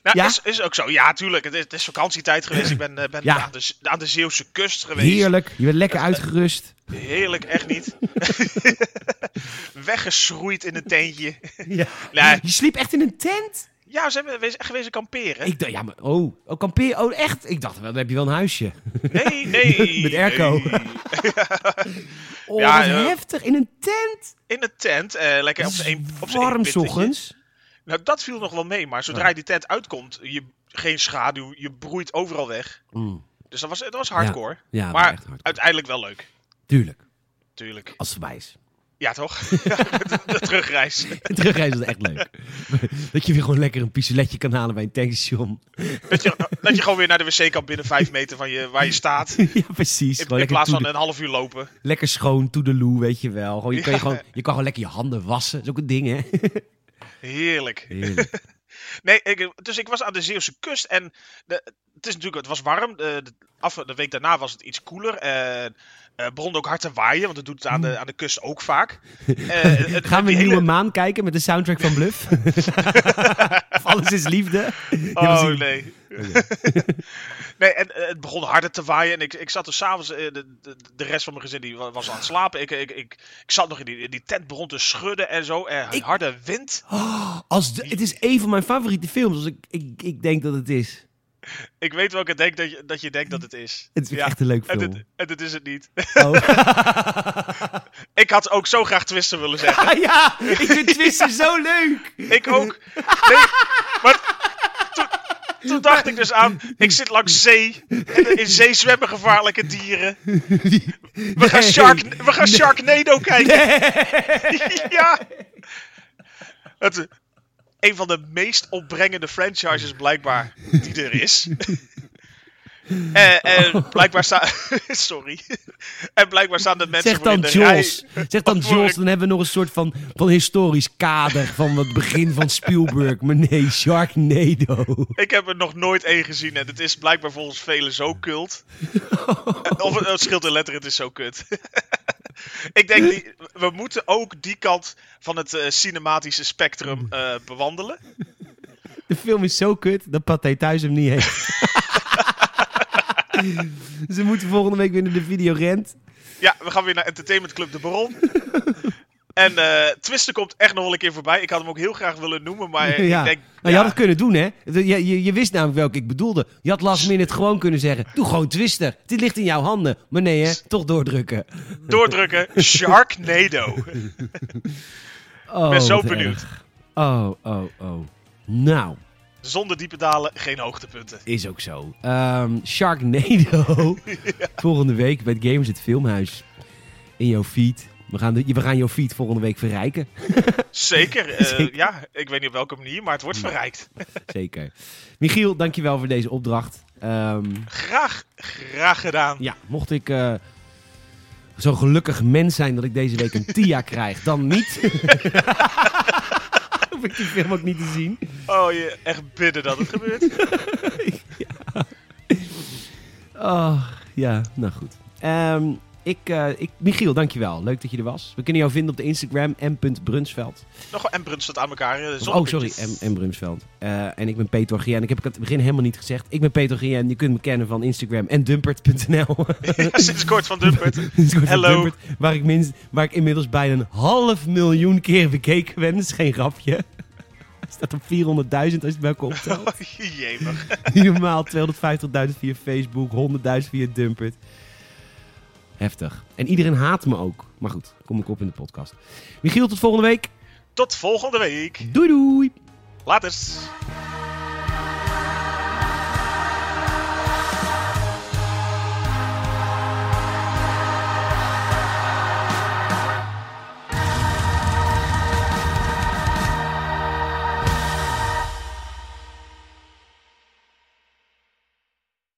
[SPEAKER 2] Nou,
[SPEAKER 1] Ja?
[SPEAKER 2] Is, is ook zo. Ja, tuurlijk. Het is, het is vakantietijd geweest. Ik ben, eh, ben
[SPEAKER 1] Ja.
[SPEAKER 2] aan, de, Z- aan de Zeeuwse kust geweest.
[SPEAKER 1] Heerlijk. Je bent lekker uitgerust.
[SPEAKER 2] Heerlijk, echt niet. Weggeschroeid in een tentje.
[SPEAKER 1] Ja.
[SPEAKER 2] Nee.
[SPEAKER 1] Je sliep echt in een tent?
[SPEAKER 2] Ja, ze hebben wees- echt geweest kamperen.
[SPEAKER 1] Ik dacht, ja, maar oh, oh kampeer, oh echt? Ik dacht, wel, dan heb je wel een huisje.
[SPEAKER 2] Nee, nee.
[SPEAKER 1] Met airco.
[SPEAKER 2] nee.
[SPEAKER 1] Oh,
[SPEAKER 2] Ja,
[SPEAKER 1] wat
[SPEAKER 2] ja.
[SPEAKER 1] heftig, in een tent?
[SPEAKER 2] In een tent. eh, lekker op
[SPEAKER 1] Het is
[SPEAKER 2] zijn één op z'n één
[SPEAKER 1] warm
[SPEAKER 2] pittetje.
[SPEAKER 1] 's ochtends.
[SPEAKER 2] Nou, dat viel nog wel mee. Maar zodra je die tent uitkomt, je, geen schaduw, je broeit overal weg.
[SPEAKER 1] Mm,
[SPEAKER 2] Dus dat was, dat was hardcore.
[SPEAKER 1] ja,
[SPEAKER 2] maar
[SPEAKER 1] echt hard.
[SPEAKER 2] uiteindelijk wel leuk.
[SPEAKER 1] Tuurlijk,
[SPEAKER 2] Tuurlijk.
[SPEAKER 1] als het voorbij is.
[SPEAKER 2] Ja, toch? Ja, de, de terugreis.
[SPEAKER 1] Terugreizen is echt leuk. dat je weer gewoon lekker een pisoletje kan halen bij een tankstation.
[SPEAKER 2] Dat je, dat je gewoon weer naar de wc kan binnen vijf meter van je, waar je staat. In-
[SPEAKER 1] ja, precies.
[SPEAKER 2] In,
[SPEAKER 1] Gewoon lekker,
[SPEAKER 2] plaats van
[SPEAKER 1] toede-
[SPEAKER 2] een half uur lopen.
[SPEAKER 1] lekker schoon, toedeloe, weet je wel. Gewoon, je, kan je,
[SPEAKER 2] Ja.
[SPEAKER 1] gewoon, je kan gewoon lekker je handen wassen. Dat is ook een ding, hè?
[SPEAKER 2] Heerlijk.
[SPEAKER 1] Heerlijk.
[SPEAKER 2] Nee, ik, dus ik was aan de Zeeuwse kust en de, het is natuurlijk, het was warm. De, de, af, de week daarna was het iets koeler. Eh eh begon ook hard te waaien, want dat doet het aan de, aan de kust ook vaak.
[SPEAKER 1] Hmm.
[SPEAKER 2] Eh,
[SPEAKER 1] Gaan we
[SPEAKER 2] die
[SPEAKER 1] een nieuwe
[SPEAKER 2] hele-
[SPEAKER 1] maan kijken met de soundtrack van Bluff? of alles is liefde? Die was
[SPEAKER 2] Oh
[SPEAKER 1] een-
[SPEAKER 2] nee. nee, en eh, het begon harder te waaien. En ik, ik zat er s'avonds, eh, de, de, de rest van mijn gezin die wa- was aan het slapen. Ik, ik, ik, ik zat nog in die, die tent, begon te schudden en zo. En
[SPEAKER 1] Ik-
[SPEAKER 2] harde wind.
[SPEAKER 1] Oh, als de- het is een van mijn favoriete films. Als ik, ik, ik denk dat het is.
[SPEAKER 2] Ik weet welke denk dat je, dat je denkt dat het is.
[SPEAKER 1] Het is
[SPEAKER 2] Ja.
[SPEAKER 1] echt een leuk
[SPEAKER 2] En
[SPEAKER 1] film.
[SPEAKER 2] het, en het is het niet.
[SPEAKER 1] Oh.
[SPEAKER 2] Ik had ook zo graag Twister willen zeggen.
[SPEAKER 1] Ah, ja, ik vind Twister zo leuk.
[SPEAKER 2] Ik ook. Nee, maar toen, toen dacht ik dus aan, ik zit langs zee. En in zee zwemmen gevaarlijke dieren. We gaan, Shark, we gaan Sharknado kijken. ja. Het, een van de meest opbrengende franchises blijkbaar die er is. En, Eh,
[SPEAKER 1] Oh.
[SPEAKER 2] en blijkbaar staan... Sorry. En blijkbaar staan de mensen
[SPEAKER 1] Zeg
[SPEAKER 2] voor in
[SPEAKER 1] dan
[SPEAKER 2] de
[SPEAKER 1] Jaws.
[SPEAKER 2] rij.
[SPEAKER 1] Zeg dan
[SPEAKER 2] Wat voor
[SPEAKER 1] Jaws.
[SPEAKER 2] een-
[SPEAKER 1] Dan hebben we nog een soort van, van historisch kader van het begin van Spielberg. Maar nee, Sharknado.
[SPEAKER 2] Ik heb er nog nooit één gezien en het is blijkbaar volgens velen zo kult. Of het, het scheelt een letter, het is zo kut. ik denk, die, we moeten ook die kant van het eh, cinematische spectrum eh, bewandelen.
[SPEAKER 1] De film is zo kut dat Pathé thuis hem niet heeft. Ze moeten volgende week weer naar de videorent.
[SPEAKER 2] Ja, we gaan weer naar Entertainment Club De Baron. en eh Twister komt echt nog wel een keer voorbij. Ik had hem ook heel graag willen noemen, maar
[SPEAKER 1] ja.
[SPEAKER 2] ik denk...
[SPEAKER 1] nou, je
[SPEAKER 2] ja,
[SPEAKER 1] had het kunnen doen, hè? Je, je, je wist namelijk welke ik bedoelde. Je had last minute gewoon kunnen zeggen: Doe gewoon Twister. Dit ligt in jouw handen. Maar nee, hè? Toch doordrukken.
[SPEAKER 2] Doordrukken, Sharknado.
[SPEAKER 1] Oh,
[SPEAKER 2] ben zo
[SPEAKER 1] wat
[SPEAKER 2] benieuwd.
[SPEAKER 1] erg. Oh, oh, oh. Nou,
[SPEAKER 2] Zonder diepe dalen, geen hoogtepunten.
[SPEAKER 1] is ook zo. Ehm Sharknado. Volgende week bij het Games het Filmhuis. In jouw feed. We gaan, de, we gaan jouw feed volgende week verrijken.
[SPEAKER 2] Zeker, eh,
[SPEAKER 1] Zeker. Mm.
[SPEAKER 2] ja. Ik weet niet op welke manier, maar het wordt verrijkt.
[SPEAKER 1] Zeker. Michiel, dankjewel voor deze opdracht. Ehm,
[SPEAKER 2] Graag, graag gedaan.
[SPEAKER 1] ja, mocht ik eh, zo'n gelukkig mens zijn dat ik deze week een TIA krijg, dan niet. Hoef ik die film ook niet te zien.
[SPEAKER 2] Oh, je echt bidden dat het gebeurt.
[SPEAKER 1] Oh, ja, nou goed. Ehm, ik, eh, ik, Michiel, dankjewel. Leuk dat je er was. We kunnen jou vinden op de Instagram, m.brunsveld.
[SPEAKER 2] Nog wel en brunst het aan elkaar. eh, zonder
[SPEAKER 1] Oh, sorry,
[SPEAKER 2] puntjes.
[SPEAKER 1] M. M. Brunsveld. Eh, en ik ben Peter Gien. Ik heb het aan het begin helemaal niet gezegd. Ik ben Peter Gien. Je kunt me kennen van Instagram en dumpert.nl.
[SPEAKER 2] Ja, sinds kort van Dumpert.
[SPEAKER 1] Een soort van
[SPEAKER 2] Hello.
[SPEAKER 1] Dumpert, waar, ik minst, waar ik inmiddels bijna een half miljoen keer bekeken ben. Dat is geen grapje. Hij staat op 400.000 als je het bij elkaar optelt.
[SPEAKER 2] Oh, jemig.
[SPEAKER 1] Normaal 250.000 via Facebook, 100.000 via Dumpert. Heftig. En iedereen haat me ook. Maar goed, kom ik op in de podcast. Michiel, tot volgende week.
[SPEAKER 2] Tot volgende week.
[SPEAKER 1] Doei doei.
[SPEAKER 2] Laters.